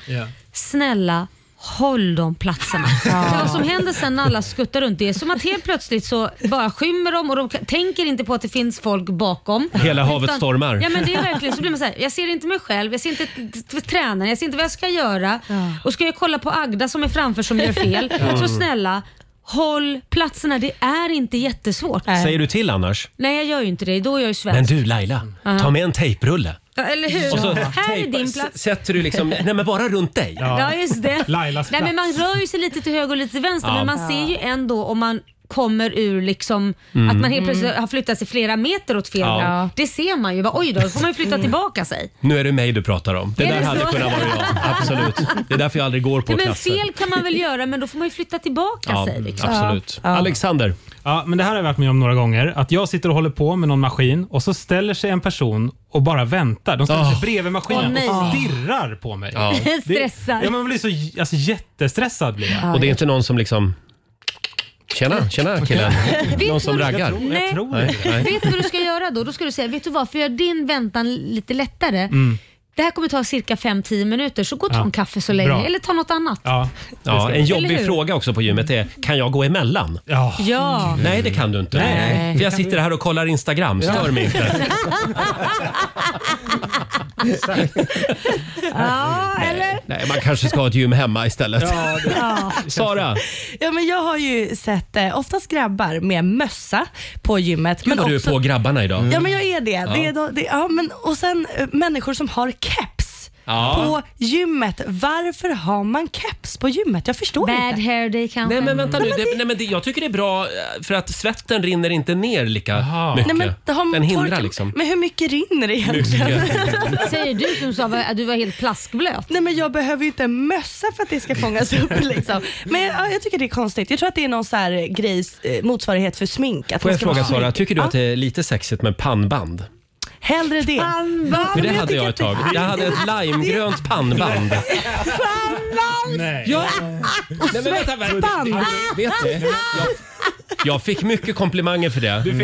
B: Snälla, håll de platserna. För vad som händer sen när alla skuttar runt, det är som att helt plötsligt så bara skymmer de och de k- tänker inte på att det finns folk bakom.
A: Hela havet stormar.
B: Ja men det är verkligen så blir man så här, jag ser inte mig själv, jag ser inte t- t- tränaren, jag ser inte vad jag ska göra. Och ska jag kolla på Agda som är framför som gör fel.
A: Ja.
B: Så snälla, håll platserna, det är inte jättesvårt.
A: Säger du till annars?
B: Nej jag gör ju inte det, då är jag ju svensk.
A: Men du Laila,
B: Ja.
A: ta med en tejprulle.
B: Ja, Eller hur?
A: Och så
B: här är
A: tejpa-
B: din plats.
A: s- Sätter du
B: [laughs]
A: liksom, nej men bara runt dig.
B: Ja, just det. Nej, men man rör ju sig lite till höger och lite till vänster
A: Ja.
B: men man
A: Ja.
B: ser ju ändå om man kommer ur liksom
A: Mm.
B: att man helt plötsligt
A: Mm.
B: har flyttat sig flera meter åt fel
A: Ja.
B: håll.
A: Ja. Mm.
B: Det ser man ju. Bara, Oj då, då får man ju flytta tillbaka sig.
A: Nu är det mig du pratar om. Det
B: Är
A: där
B: det
A: hade
B: så?
A: kunnat vara jag.
B: [laughs]
A: Absolut. Det är därför jag aldrig går på
B: Nej, men
A: klasser.
B: fel kan man väl göra men då får man ju flytta tillbaka sig. Liksom.
A: Alexander?
H: Ja, men det här har jag varit med om några gånger. Att jag sitter och håller på med någon maskin och så ställer sig en person och bara väntar. De ställer sig
A: Ah.
H: bredvid
A: Åh,
H: maskinen
A: nej.
H: och stirrar på mig.
B: [laughs]
A: Ja.
H: Det-
B: Stressar. Ah.
H: Ja, man blir så j- alltså, jättestressad. Blir jag.
A: Och det är inte någon som liksom... Tjena, tjena
B: [laughs]
A: killen.
B: Vet
A: Någon
B: du
A: som
B: vad du-
A: raggar.
B: Nej.
A: Nej, nej.
B: Vet du vad du ska göra då? Då ska du säga, vet du vad, för att göra din väntan lite lättare.
A: Mm.
B: Det här kommer ta cirka 5-10 minuter så gå och ta
A: Ja.
B: en kaffe så länge
A: Bra.
B: eller ta något annat.
A: Ja,
B: ska
A: en
B: vi. Eller
A: jobbig
B: hur?
A: fråga också på gymmet är, kan jag gå emellan?
B: Ja.
A: Nej, det kan du inte.
B: Nej.
A: För jag sitter här och kollar Instagram, stör mig inte.
B: [laughs]
A: Mm,
G: Ja, eller?
A: Nej, man kanske ska ha ett gym hemma istället.
G: Ja, det- Ja.
A: [laughs] Sara,
G: Ja, men jag har ju sett eh, oftast grabbar med mössa på gymmet.
A: gud
G: men
A: vad du är
G: också-
A: på grabbarna idag.
G: Ja, men jag är det.
A: Ja.
G: det, är då, det ja, men, och sen eh, människor som har keps.
A: Ja.
G: På gymmet. Varför har man keps på gymmet? Jag förstår inte. Bad
B: hair day kanske.
A: Nej men vänta nu, det, nej, men det, jag tycker det är bra eh, för att svetten rinner inte ner lika mycket.
G: Nej, men det har man
A: Den hindrar
G: torkat-
A: liksom.
G: Men hur mycket rinner det egentligen?
B: Säger du som sa att du var helt plaskblöt?
G: [laughs] Nej men jag behöver ju inte en mössa för att det ska fångas upp
A: [laughs]
G: liksom. Men ja, jag tycker det är konstigt. Jag tror att det är någon så här grej, eh, motsvarighet för smink. Att
A: Får
G: man
A: jag
G: ska vara
A: fråga Sara,
G: snygg.
A: tycker du
G: Ja,
A: att det är lite sexigt med pannband?
G: Hellre det. Pannband!
A: För det hade jag ett tag. Jag hade ett limegrönt pannband.
G: Pannband!
A: Ja.
G: Och
A: Nej, men vänta, vänta.
G: svettband!
A: Vet du? Jag, jag fick mycket komplimanger för det.
B: ja men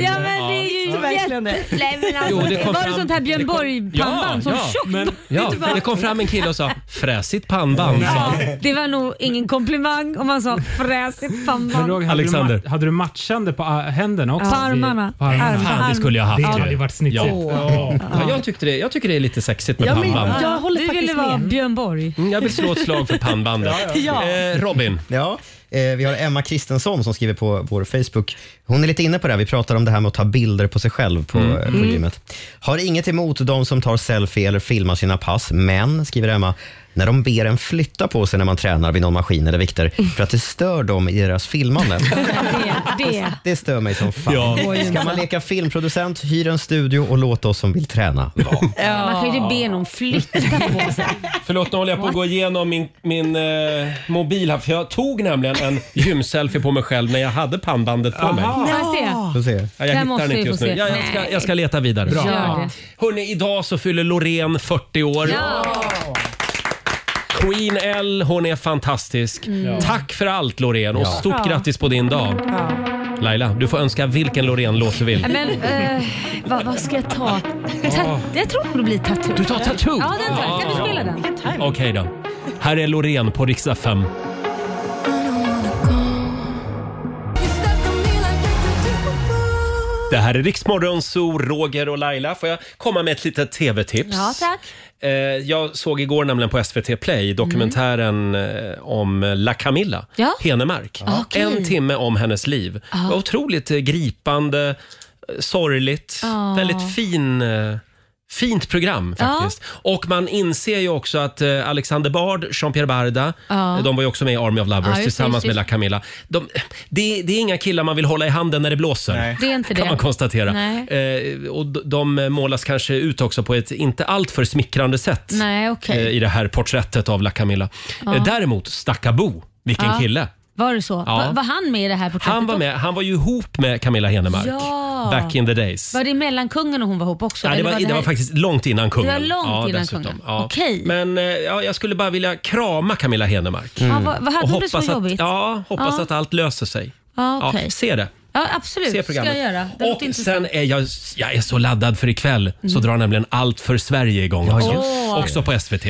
B: det är ju
A: Ja.
B: verkligen det. Nej, men alltså,
A: Jo, det kom
B: var det
A: fram-
B: sånt här Björn Borg-pannband som tjockt?
A: ja, det kom fram en kille och sa “fräsigt pannband”. sa han.
B: Det var nog ingen komplimang om man sa fräsigt
H: Kommer du ihåg,
B: pannband.
H: hade
A: Alexander.
H: Du ma- hade du matchande på ah, händerna också?
B: På armarna.
H: På armarna.
B: Arm-
A: Fan, det skulle jag haft.
H: Det hade ju varit snitsigt.
A: Ja. Ja, jag, tyckte det, jag tycker det är lite sexigt med
B: Ja, men-
A: pannband.
B: jag håller Du faktiskt ville vara med. Björn Borg.
A: Mm, Jag vill slå ett slag för pannbandet.
B: Ja.
A: Eh, Robin.
C: Ja, eh, vi har Emma Kristensson som skriver på vår Facebook. Hon är lite inne på det här. Vi pratar om det här med att ta bilder på sig själv på,
O: Mm.
C: eh, på
O: Mm.
C: gymmet. Har inget emot de som tar selfie eller filmar sina pass, men, skriver Emma, när de ber en flytta på sig när man tränar vid någon maskin eller vikter för att det stör dem i deras
B: [laughs]
C: filmande.
B: Det, det.
C: Det stör mig som fan.
B: Ja. Det går ju
C: Ska
B: inte.
C: man leka filmproducent, hyr en studio och låt oss som vill träna vara.
B: Man kan ju inte be någon flytta på sig.
A: Förlåt, nu håller jag på att gå igenom min, min eh, mobil här. För jag tog nämligen en gymselfie på mig själv när jag hade pannbandet på mig.
B: Får jag se?
C: Får se.
A: Ja, jag hittar
B: måste
A: den
B: vi
A: inte
B: få
A: just nu.
B: se.
A: Jag, jag, ska,
B: Nej.
A: jag ska leta vidare.
B: Bra. Gör det.
A: Hörrni, idag så fyller Loreen 40 år. Queen L, hon är fantastisk.
I: Mm.
A: Tack för allt Loreen och
I: Ja.
A: stort
B: Ja.
A: grattis på din dag. Laila, du får önska vilken Loreen-låt du vill.
B: Ja, Men eh, vad, vad ska jag ta? ta jag tror det blir Tattoo.
A: Du tar Tattoo?
B: Ja, den tar jag. Kan du
A: Ja.
B: spela den?
A: Okej då. Här är Loreen på riksdag 5. Det här är Riksmorgon, Zoo, Roger och Laila. Får jag komma med ett litet tv-tips?
B: Ja, tack.
A: Eh, jag såg igår nämligen på SVT Play dokumentären eh, om La Camilla
B: Ja. Ah,
A: Henemark.
B: Ja. Okej.
A: En timme om hennes liv.
B: Ja.
A: Det var otroligt eh, gripande, eh, sorgligt,
B: Ja.
A: väldigt fin, eh, fint program
B: Ah. Ja.
A: faktiskt. Och man inser ju också att eh, Alexander Bard, Jean-Pierre Barda,
B: Ja.
A: eh, de var ju också med i Army of Lovers
B: Ah. Ja, just det,
A: tillsammans
B: just det.
A: med La Camilla. De, det, det är inga killar man vill hålla i handen när det blåser.
B: Det är inte
A: kan
B: det.
A: man konstatera.
B: Nej.
A: Eh, och d- de målas kanske ut också på ett inte alltför smickrande sätt
B: Nej, okej.
A: eh, i det här porträttet av La Camilla.
B: Ja.
A: Eh, däremot Stackabo, vilken
B: Ja.
A: kille.
B: Var det så?
A: Ja.
B: Var, var han med i det här porträttet?
A: Han var, med, han var ju ihop med Camilla Henemark
B: Ja.
A: back in the days.
B: Var det mellankungen och hon var ihop också?
A: Ja, det,
B: Eller
A: var, det,
B: här-
A: var faktiskt långt innan kungen.
B: Det var långt
A: ja,
B: innan
A: dessutom.
B: kungen.
A: Ja.
B: Okej.
A: Men eh, ja, jag skulle bara vilja krama Camilla Henemark.
B: Ja, vad- vad Mm. hade
A: Mm. Och
B: hon det så
A: hoppas
B: jobbigt?
A: Att, ja, hoppas
B: Ja.
A: att allt löser sig.
B: Ja, okej.
A: se det.
B: Ja, absolut.
A: Se
B: Det ska
A: programmet.
B: jag göra. Det låter
A: Och sen
B: intressant.
A: är jag, jag är så laddad för ikväll så
B: Mm.
A: drar nämligen Allt för Sverige igång
B: Ja,
A: också.
B: just det.
A: Också på SVT.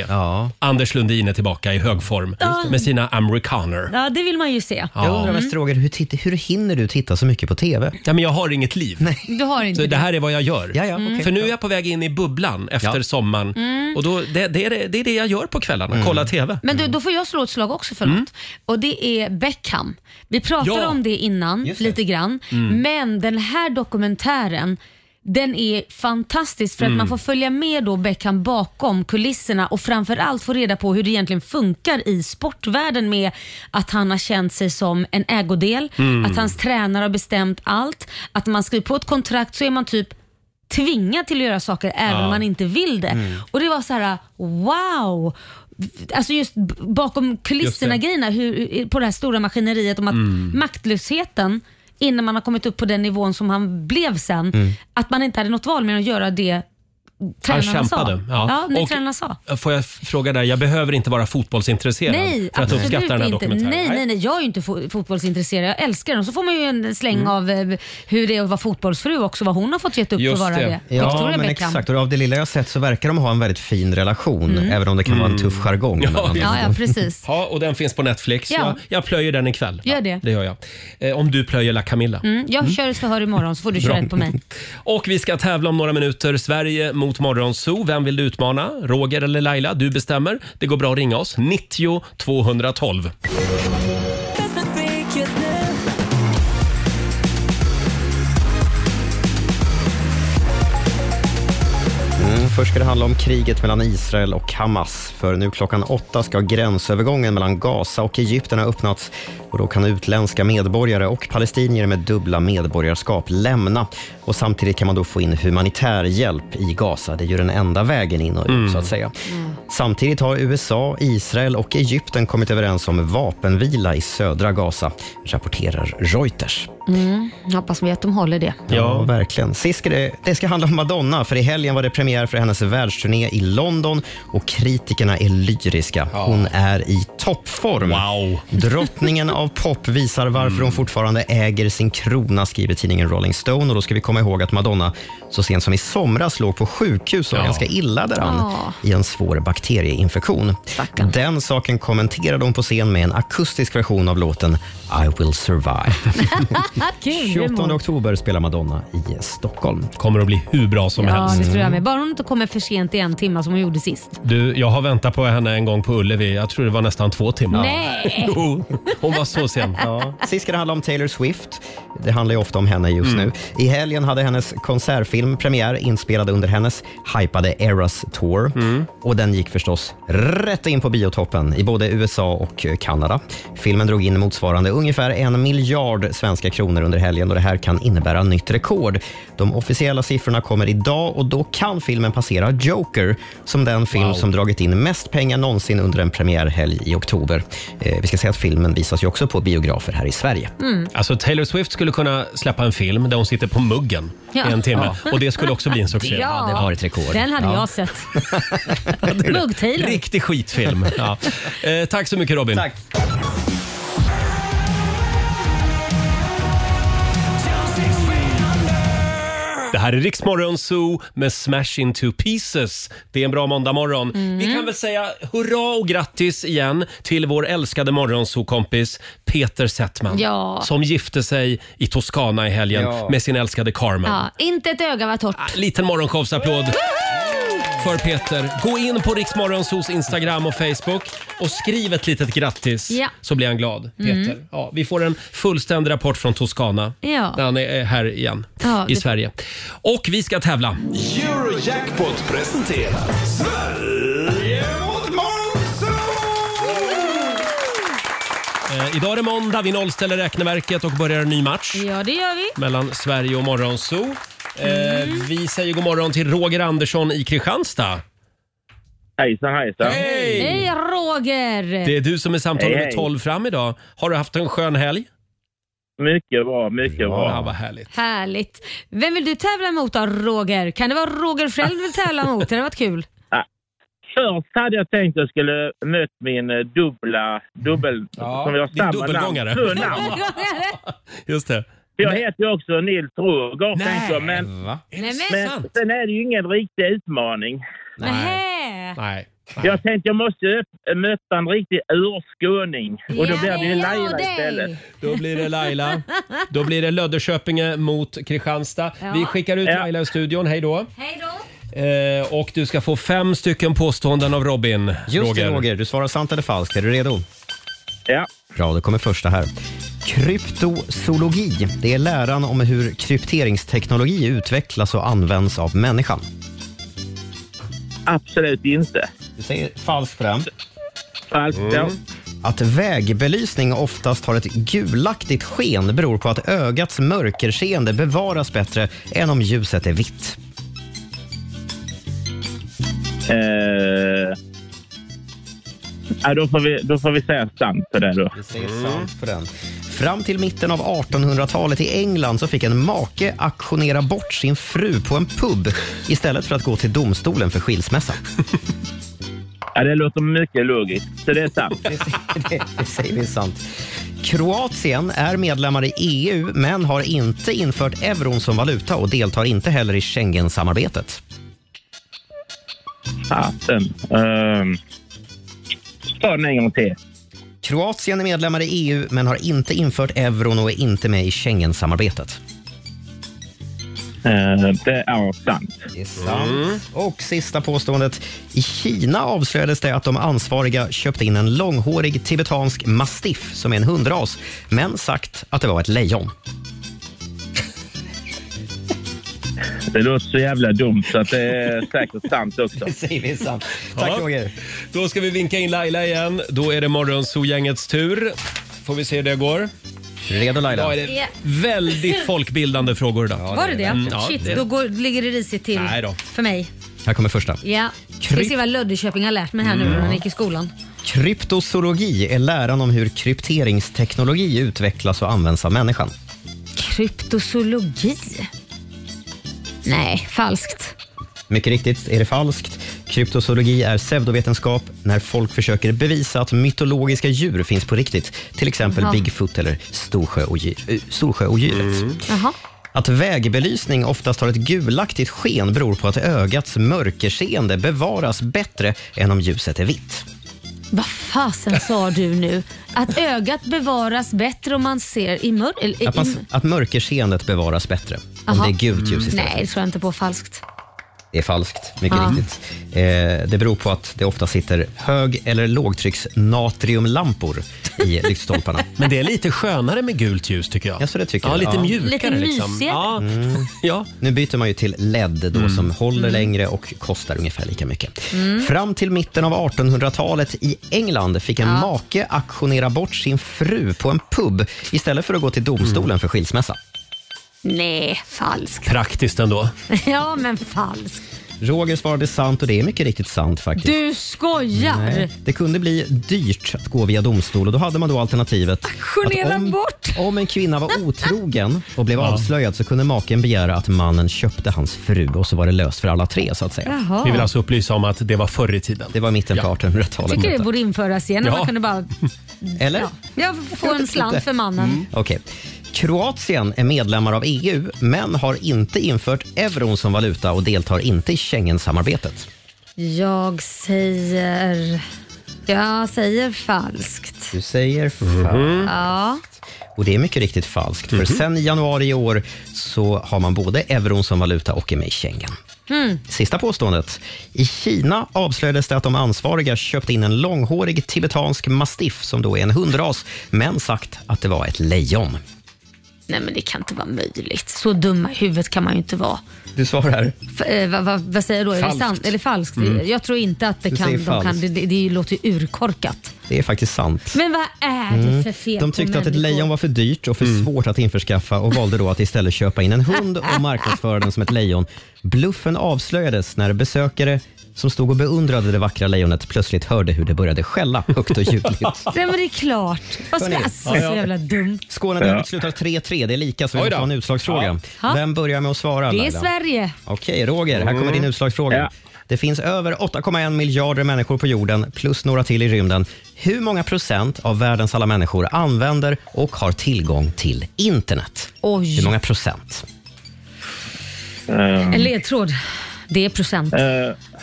A: Anders Lundin är tillbaka i hög form
B: Ja.
A: med sina amerikaner.
B: Ja, det vill man ju se.
C: Jag undrar mest Roger, hur, titt- hur hinner du titta så mycket på TV?
A: Ja, men jag har inget liv.
C: Nej.
B: Mm. Du har inte
A: Så det här är vad jag gör.
B: Mm. okej.
A: För nu är jag på väg in i bubblan efter sommaren.
B: Mm.
A: Och då, det, det, är det, det är det jag gör på kvällarna, kolla TV.
B: Men du, då får jag slå ett slag också för något. Och det är Beckham. Vi pratade
A: Mm. Ja.
B: om det innan lite grann.
L: Mm.
B: Men den här dokumentären den är fantastisk för att
L: Mm.
B: man får följa med då Beckham bakom kulisserna och framförallt få reda på hur det egentligen funkar i sportvärlden med att han har känt sig som en ägodel,
L: Mm.
B: att hans tränare har bestämt allt, att när man skriver på ett kontrakt så är man typ tvingad till att göra saker även
L: Ja.
B: om man inte vill det.
L: Mm.
B: Och det var så här: wow! Alltså just b- bakom kulisserna
L: Just det.
B: grejerna hur, på det här stora maskineriet om att
L: Mm.
B: maktlösheten innan man har kommit upp på den nivån som han blev sen,
A: Mm.
B: att man inte hade något val mer än att göra det tränarna
A: kämpade,
B: sa.
A: ja.
B: Ja, det
A: Och-
B: tränarna sa.
A: Får jag f- fråga dig, jag behöver inte vara fotbollsintresserad
B: Nej,
A: för att
B: absolut
A: uppskatta den här
B: inte.
A: dokumentären.
B: Nej, nej, nej. Jag är ju inte fo- fotbollsintresserad. Jag älskar den. Så får man ju en släng
A: Mm.
B: av eh, hur det är att vara fotbollsfru också, vad hon har fått gett upp för att vara det.
C: Ja,
B: Victoria
C: men
B: Beckham.
C: exakt. Och av det lilla jag har sett så verkar de ha en väldigt fin relation,
B: Mm.
C: även om det kan vara en tuff jargong.
A: Ja,
C: emellanåt.
B: Ja, ja, precis.
A: Ja, och den finns på Netflix.
B: Ja.
A: Jag, jag plöjer den ikväll.
B: Gör det.
A: Det gör jag. Eh, om du plöjer La Camilla.
B: Mm, jag kör ett förhör imorgon så får du köra
A: Bra.
B: ett på mig.
A: Och vi ska tävla om några minuter. Sverige mot Morgonzoo. Vem vill du utmana? Roger eller Laila? Du bestämmer. Det går bra att ringa oss. 90 212.
C: Mm, först ska det handla om kriget mellan Israel och Hamas. För nu klockan åtta ska gränsövergången mellan Gaza och Egypten ha öppnats. Och då kan utländska medborgare och palestinier med dubbla medborgarskap lämna. Och samtidigt kan man då få in humanitär hjälp i Gaza. Det är ju den enda vägen in och ut så att säga. Samtidigt har USA, Israel och Egypten kommit överens om vapenvila i södra Gaza, rapporterar Reuters.
B: Mm, hoppas vi att de håller det.
C: Ja, verkligen. Sist ska det, det ska handla om Madonna, för i helgen var det premiär för hennes världsturné i London och kritikerna är lyriska. Hon är i toppform.
A: Wow.
C: Drottningen av pop visar varför hon fortfarande äger sin krona, skriver tidningen Rolling Stone. Och då ska vi komma ihåg att Madonna så sent som i somras låg på sjukhus och
O: Ja.
C: var ganska illa däran
O: Ja.
C: i en svår bakterieinfektion. Den saken kommenterade hon på scen med en akustisk version av låten I will survive.
B: Kul!
C: 28 oktober spelar Madonna i Stockholm.
A: Kommer att bli hur bra som
B: Ja,
A: helst.
B: det tror jag med. Bara hon inte kommer för sent i en timme som hon gjorde sist.
A: Du, jag har väntat på henne en gång på Ullevi. Jag tror det var nästan två timmar.
B: Nej.
A: [laughs] Jo, hon var så sen.
C: Ja. Sist ska det handla om Taylor Swift. Det handlar ju ofta om henne just nu. I helgen hade hennes konsertfilm premiär inspelad under hennes hypade Eras Tour. Och den gick förstås rätt in på biotoppen i både USA och eh, Kanada. Filmen drog in motsvarande ungefär en miljard svenska kronor under helgen och det här kan innebära nytt rekord. De officiella siffrorna kommer idag och då kan filmen passera Joker som den film som dragit in mest pengar någonsin under en premiärhelg i oktober. Eh, vi ska säga att filmen visas ju också på biografer här i Sverige.
B: Mm.
A: Alltså Taylor Swift skulle kunna släppa en film där hon sitter på muggen
B: Ja.
A: i en timme.
B: Ja.
A: Och det skulle också bli en succé.
B: Ja. Ja, det var ett rekord. Den hade jag sett. Mugg-Taylor.
A: Riktig
B: [laughs]
A: skitfilm. Ja. Eh, tack så mycket Robin. Tack. Det här är Riksmorgon Zoo med Smash Into Pieces. Det är en bra måndagmorgon.
B: Mm.
A: Vi kan väl säga hurra och grattis igen till vår älskade morgonzoo-kompis Peter Settman.
B: Ja.
A: Som gifte sig i Toscana i helgen
B: Ja.
A: med sin älskade Carmen.
B: Ja, inte ett öga var torrt.
A: Ah, Liten morgonshowsapplåd för Peter. Gå in på Riksmorgonsos Instagram och Facebook och skriv ett litet grattis
B: Ja.
A: så blir han glad. Peter.
B: Mm.
A: Ja, vi får en fullständig rapport från Toscana
B: Ja.
A: när han är här igen
B: Ja,
A: i
B: det-
A: Sverige. Och vi ska tävla.
E: Eurojackpot presenterar Sverige mot Monzo!
A: Eh, idag är det måndag, vi nollställer räkneverket och börjar en ny match
B: Ja, det gör vi.
A: mellan Sverige och Morgonzoo. Eh,
B: Mm.
A: Vi säger god morgon till Roger Andersson i Kristianstad. Hejsan, hejsan. Hej!
B: Hej Roger!
A: Det är du som är samtal
O: Hej,
A: nummer
O: hej.
A: 12 fram idag. Har du haft en skön helg?
O: Mycket bra, mycket bra.
A: Ja, vad härligt.
B: Härligt. Vem vill du tävla mot då, Roger? Kan det vara Roger själv du vill tävla mot? Det hade vaät kul.
O: Först hade jag tänkt att jag skulle mött min eh, dubbla, dubbel, som jag har
A: din
O: samma
A: dubbelgångare.
O: namn. Två namn.
A: [laughs]
B: [laughs]
A: Just det.
O: För Jag heter ju också Nils Roger,
A: Nej,
O: tänkte jag, men,
A: va?
B: Är det
O: men
B: sant?
O: sen är det ju ingen riktig utmaning.
B: Nähä.
A: Nej.
O: Jag tänkte jag måste öpp- möta en riktig urskåning och då
B: Ja,
O: blir det ju
B: det
O: Laila
B: gör det.
O: istället.
A: Då blir det Laila. Då blir det Löddeköpinge mot Kristianstad.
B: Ja.
A: Vi skickar ut Laila i studion. Hej då.
B: Hej då!
A: Eh, och du ska få fem stycken påståenden av Robin.
C: Just det
A: Roger.
C: Roger, du svarar sant eller falskt. Är du redo?
O: Ja.
C: Bra, då kommer första här. Kryptozoologi, det är läran om hur krypteringsteknologi utvecklas och används av människan.
O: Absolut inte.
C: Du säger falskt på den.
A: Mm.
O: Falskt, ja.
C: Att vägbelysning oftast har ett gulaktigt sken beror på att ögats mörkerseende bevaras bättre än om ljuset är vitt.
O: Eh, ja, då, får vi, då får vi säga sant på det då.
C: på den. Fram till mitten av 1800-talet i England så fick en make auktionera bort sin fru på en pub istället för att gå till domstolen för skilsmässa.
O: Ja, det låter mycket logiskt, så det är sant.
C: Det säger vi sant. Kroatien är medlemmar i EU men har inte infört euron som valuta och deltar inte heller i Schengen-samarbetet.
O: Fasen. Um, ta den en gång till.
C: Kroatien är medlemmar i EU men har inte infört euron och är inte med i Schengen-samarbetet.
O: Eh, det är sant.
C: Det är sant. Och sista påståendet. I Kina avslöjades det att de ansvariga köpte in en långhårig tibetansk mastiff som är en hundras, men sagt att det var ett lejon. [laughs]
O: Det låter så jävla dumt så att det är säkert sant också. Det
C: säger vi sant.
A: Ja. Då ska vi vinka in Laila igen. Då är det Morgonzoo-gängets tur. Får vi se hur det går.
C: Redo Laila?
A: Idag är
B: Ja.
A: det
B: [laughs]
A: väldigt folkbildande frågor idag.
B: Var det det?
A: Mm, ja,
B: Shit,
A: det-
B: då går, ligger det risigt till
A: Nej då.
B: för mig.
C: Här kommer första.
B: Ja. Ska vi se vad Löddeköping har lärt mig här nu när han gick i skolan.
C: Kryptozoologi är läran om hur krypteringsteknologi utvecklas och används av människan.
B: Kryptozoologi? Nej, falskt.
C: Mycket riktigt är det falskt. Kryptozoologi är pseudovetenskap när folk försöker bevisa att mytologiska djur finns på riktigt. Till exempel
B: Jaha.
C: Bigfoot eller Storsjöodjur, eh, Storsjöodjuret.
B: Jaha.
C: Att vägbelysning oftast har ett gulaktigt sken beror på att ögats mörkerseende bevaras bättre än om ljuset är vitt.
B: Vad fasen sa du nu? Att ögat bevaras bättre om man ser i mörker?
C: Att, man, att mörkerseendet bevaras bättre om det är gult ljus istället.
B: Nej, det tror jag inte på. Falskt.
C: Det är falskt, mycket
B: Ja.
C: riktigt. Eh, det beror på att det ofta sitter hög eller lågtrycksnatriumlampor i lyktstolparna.
B: [laughs]
A: Men det är lite skönare med gult ljus tycker jag.
C: Ja, så det tycker
A: Ja,
C: jag.
A: lite mjukare, Lite liksom. mysigare. Ja. [laughs] Ja.
C: Nu byter man ju till LED då,
A: Mm.
C: som håller
A: Mm.
C: längre och kostar ungefär lika mycket.
D: Mm.
C: Fram till mitten av 1800-talet i England fick en
D: Ja.
C: make auktionera bort sin fru på en pub istället för att gå till domstolen
B: Mm.
C: för skilsmässa.
B: Nej, falskt. [laughs]
A: Praktiskt ändå.
B: Ja, men falskt.
C: Roger svarade sant och det är mycket riktigt sant faktiskt.
B: Du skojar!
C: Nej, det kunde bli dyrt att gå via domstol och då hade man då alternativet
B: Auktionera
C: att om,
B: bort!
C: om en kvinna var otrogen och
B: [laughs]
C: blev avslöjad så kunde maken begära att mannen köpte hans fru och så var det löst för alla tre så att säga.
B: Jaha. Vi vill alltså
A: upplysa om att det var förr i tiden.
C: Det var mitten på
B: Jag
C: 1800-talet.
B: tycker det borde införas igen.
C: Ja.
B: Man kunde bara...
C: Eller?
B: Ja. [laughs] Jag Mm. får en slant för mannen.
C: Okej. Kroatien är medlemmar av EU men har inte infört euron som valuta och deltar inte i Schengensamarbetet.
B: Jag säger... Jag säger falskt.
C: Du säger falskt.
B: Ja.
C: Mhm. Och det är mycket riktigt falskt, för sen januari i år så har man både euron som valuta och är med i Schengen.
B: Mm.
C: Sista påståendet. I Kina avslöjades det att de ansvariga köpte in en långhårig tibetansk mastiff som då är en hundras, men sagt att det var ett lejon.
B: Nej men det kan inte vara möjligt. Så dumma i huvudet kan man ju inte vara.
C: Du svarar?
B: F- eh, vad, vad, vad säger jag då? Är det
C: Falskt.
B: sant eller falskt?
C: Mm.
B: Jag tror inte att det
C: Du
B: kan.
C: säger
B: De kan
C: falskt.
B: det, det, det låter ju urkorkat.
C: Det är faktiskt sant.
B: Men vad är det
C: Mm.
B: för fel
C: De
B: på
C: tyckte att ett
B: människor?
C: lejon var för dyrt och för
B: Mm.
C: svårt att införskaffa och valde då att istället köpa in en hund och marknadsföra den som ett lejon. Bluffen avslöjades när besökare som stod och beundrade det vackra lejonet plötsligt hörde hur det började skälla högt och
B: [laughs]
C: ljudligt.
B: Nej men det är klart. Vad ska
C: Hörni.
B: alltså, så jävla dumt.
C: Skånederbyt slutar 3-3. Det är lika, så vi
B: Oj
C: måste
B: då.
C: ha en utslagsfråga.
B: Ja.
C: Vem börjar med att svara?
B: Det är
C: Laila?
B: Sverige.
C: Okej, Roger, här kommer
B: Mm.
C: din utslagsfråga.
B: Ja.
C: Det finns över 8,1 miljarder människor på jorden, plus några till i rymden. Hur många procent av världens alla människor använder och har tillgång till internet?
B: Oj.
C: Hur många procent?
B: En ledtråd. Det är procent.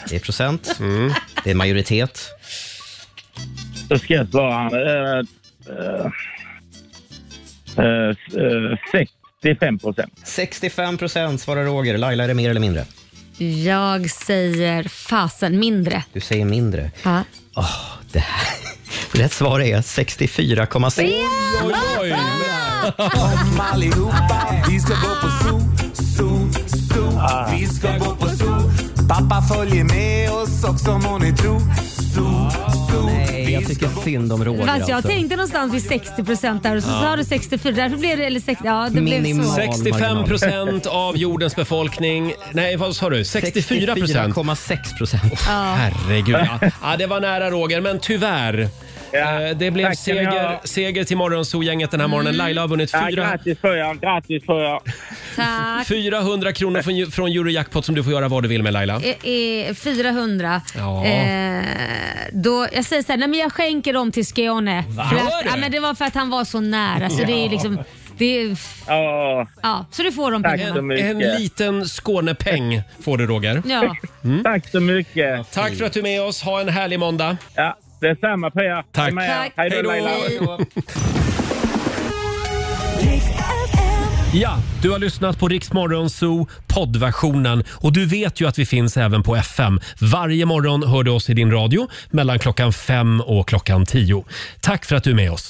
C: Det är procent.
B: Mm.
C: Det är majoritet.
O: Då ska jag svara. Eh, eh, eh, 65 procent.
C: 65 procent svarar Roger. Laila, är det mer eller mindre?
B: Jag säger fasen mindre.
C: Du säger mindre.
B: Ja.
C: [laughs] Rätt svar är 64,6.
D: Oj, oj, Kom allihopa, vi ska gå på zoo, zoo, zoo. Vi ska gå på zoo. Pappa följer med oss också må ni tro. Zoo, zoo.
C: Nej, jag tycker synd om Roger.
B: Fast jag
C: alltså.
B: tänkte någonstans vid 60 procent där och så
A: Ja.
B: sa du 64. Därför blev det, eller 60, ja, det blev så.
A: 65 procent av jordens befolkning. Nej, vad sa du? 64 procent?
C: 64,6 procent.
B: Ja.
A: Herregud.
B: [laughs]
A: Ja. Ja, det var nära Roger, men tyvärr. Eh, Det blev
O: tack ska ni
A: seger,
O: ha.
A: seger till Morgonzoo-gänget
B: Mm.
A: den här morgonen. Laila har vunnit
O: Ja,
A: fyra,
O: grattis får jag, grattis får jag.
B: Tack.
A: 400 kronor från, från Eurojackpot som du får göra vad du vill med Laila.
B: E- e- 400.
A: Ja.
B: Eh, då, jag säger så här, nej men jag skänker dem till Skåne. För
A: Gör
B: att,
A: det?
B: ja, men det var för att han var så nära. Så det är ju liksom, det är,
O: Ja,
B: ja, så du får de pengarna.
A: En liten Skånepeng får du Roger.
B: Ja.
O: Tack så mycket.
A: Tack för att du är med oss. Ha en härlig måndag.
O: Ja, detsamma på er.
A: Tack.
O: Detsamma er.
A: Tack.
O: Hej
A: Hej
O: då
A: då.
O: Laila.
A: Ja, du har lyssnat på Rix Morgon Zoo poddversionen och du vet ju att vi finns även på FM. Varje morgon hör du oss i din radio mellan klockan fem och klockan tio. Tack för att du är med oss.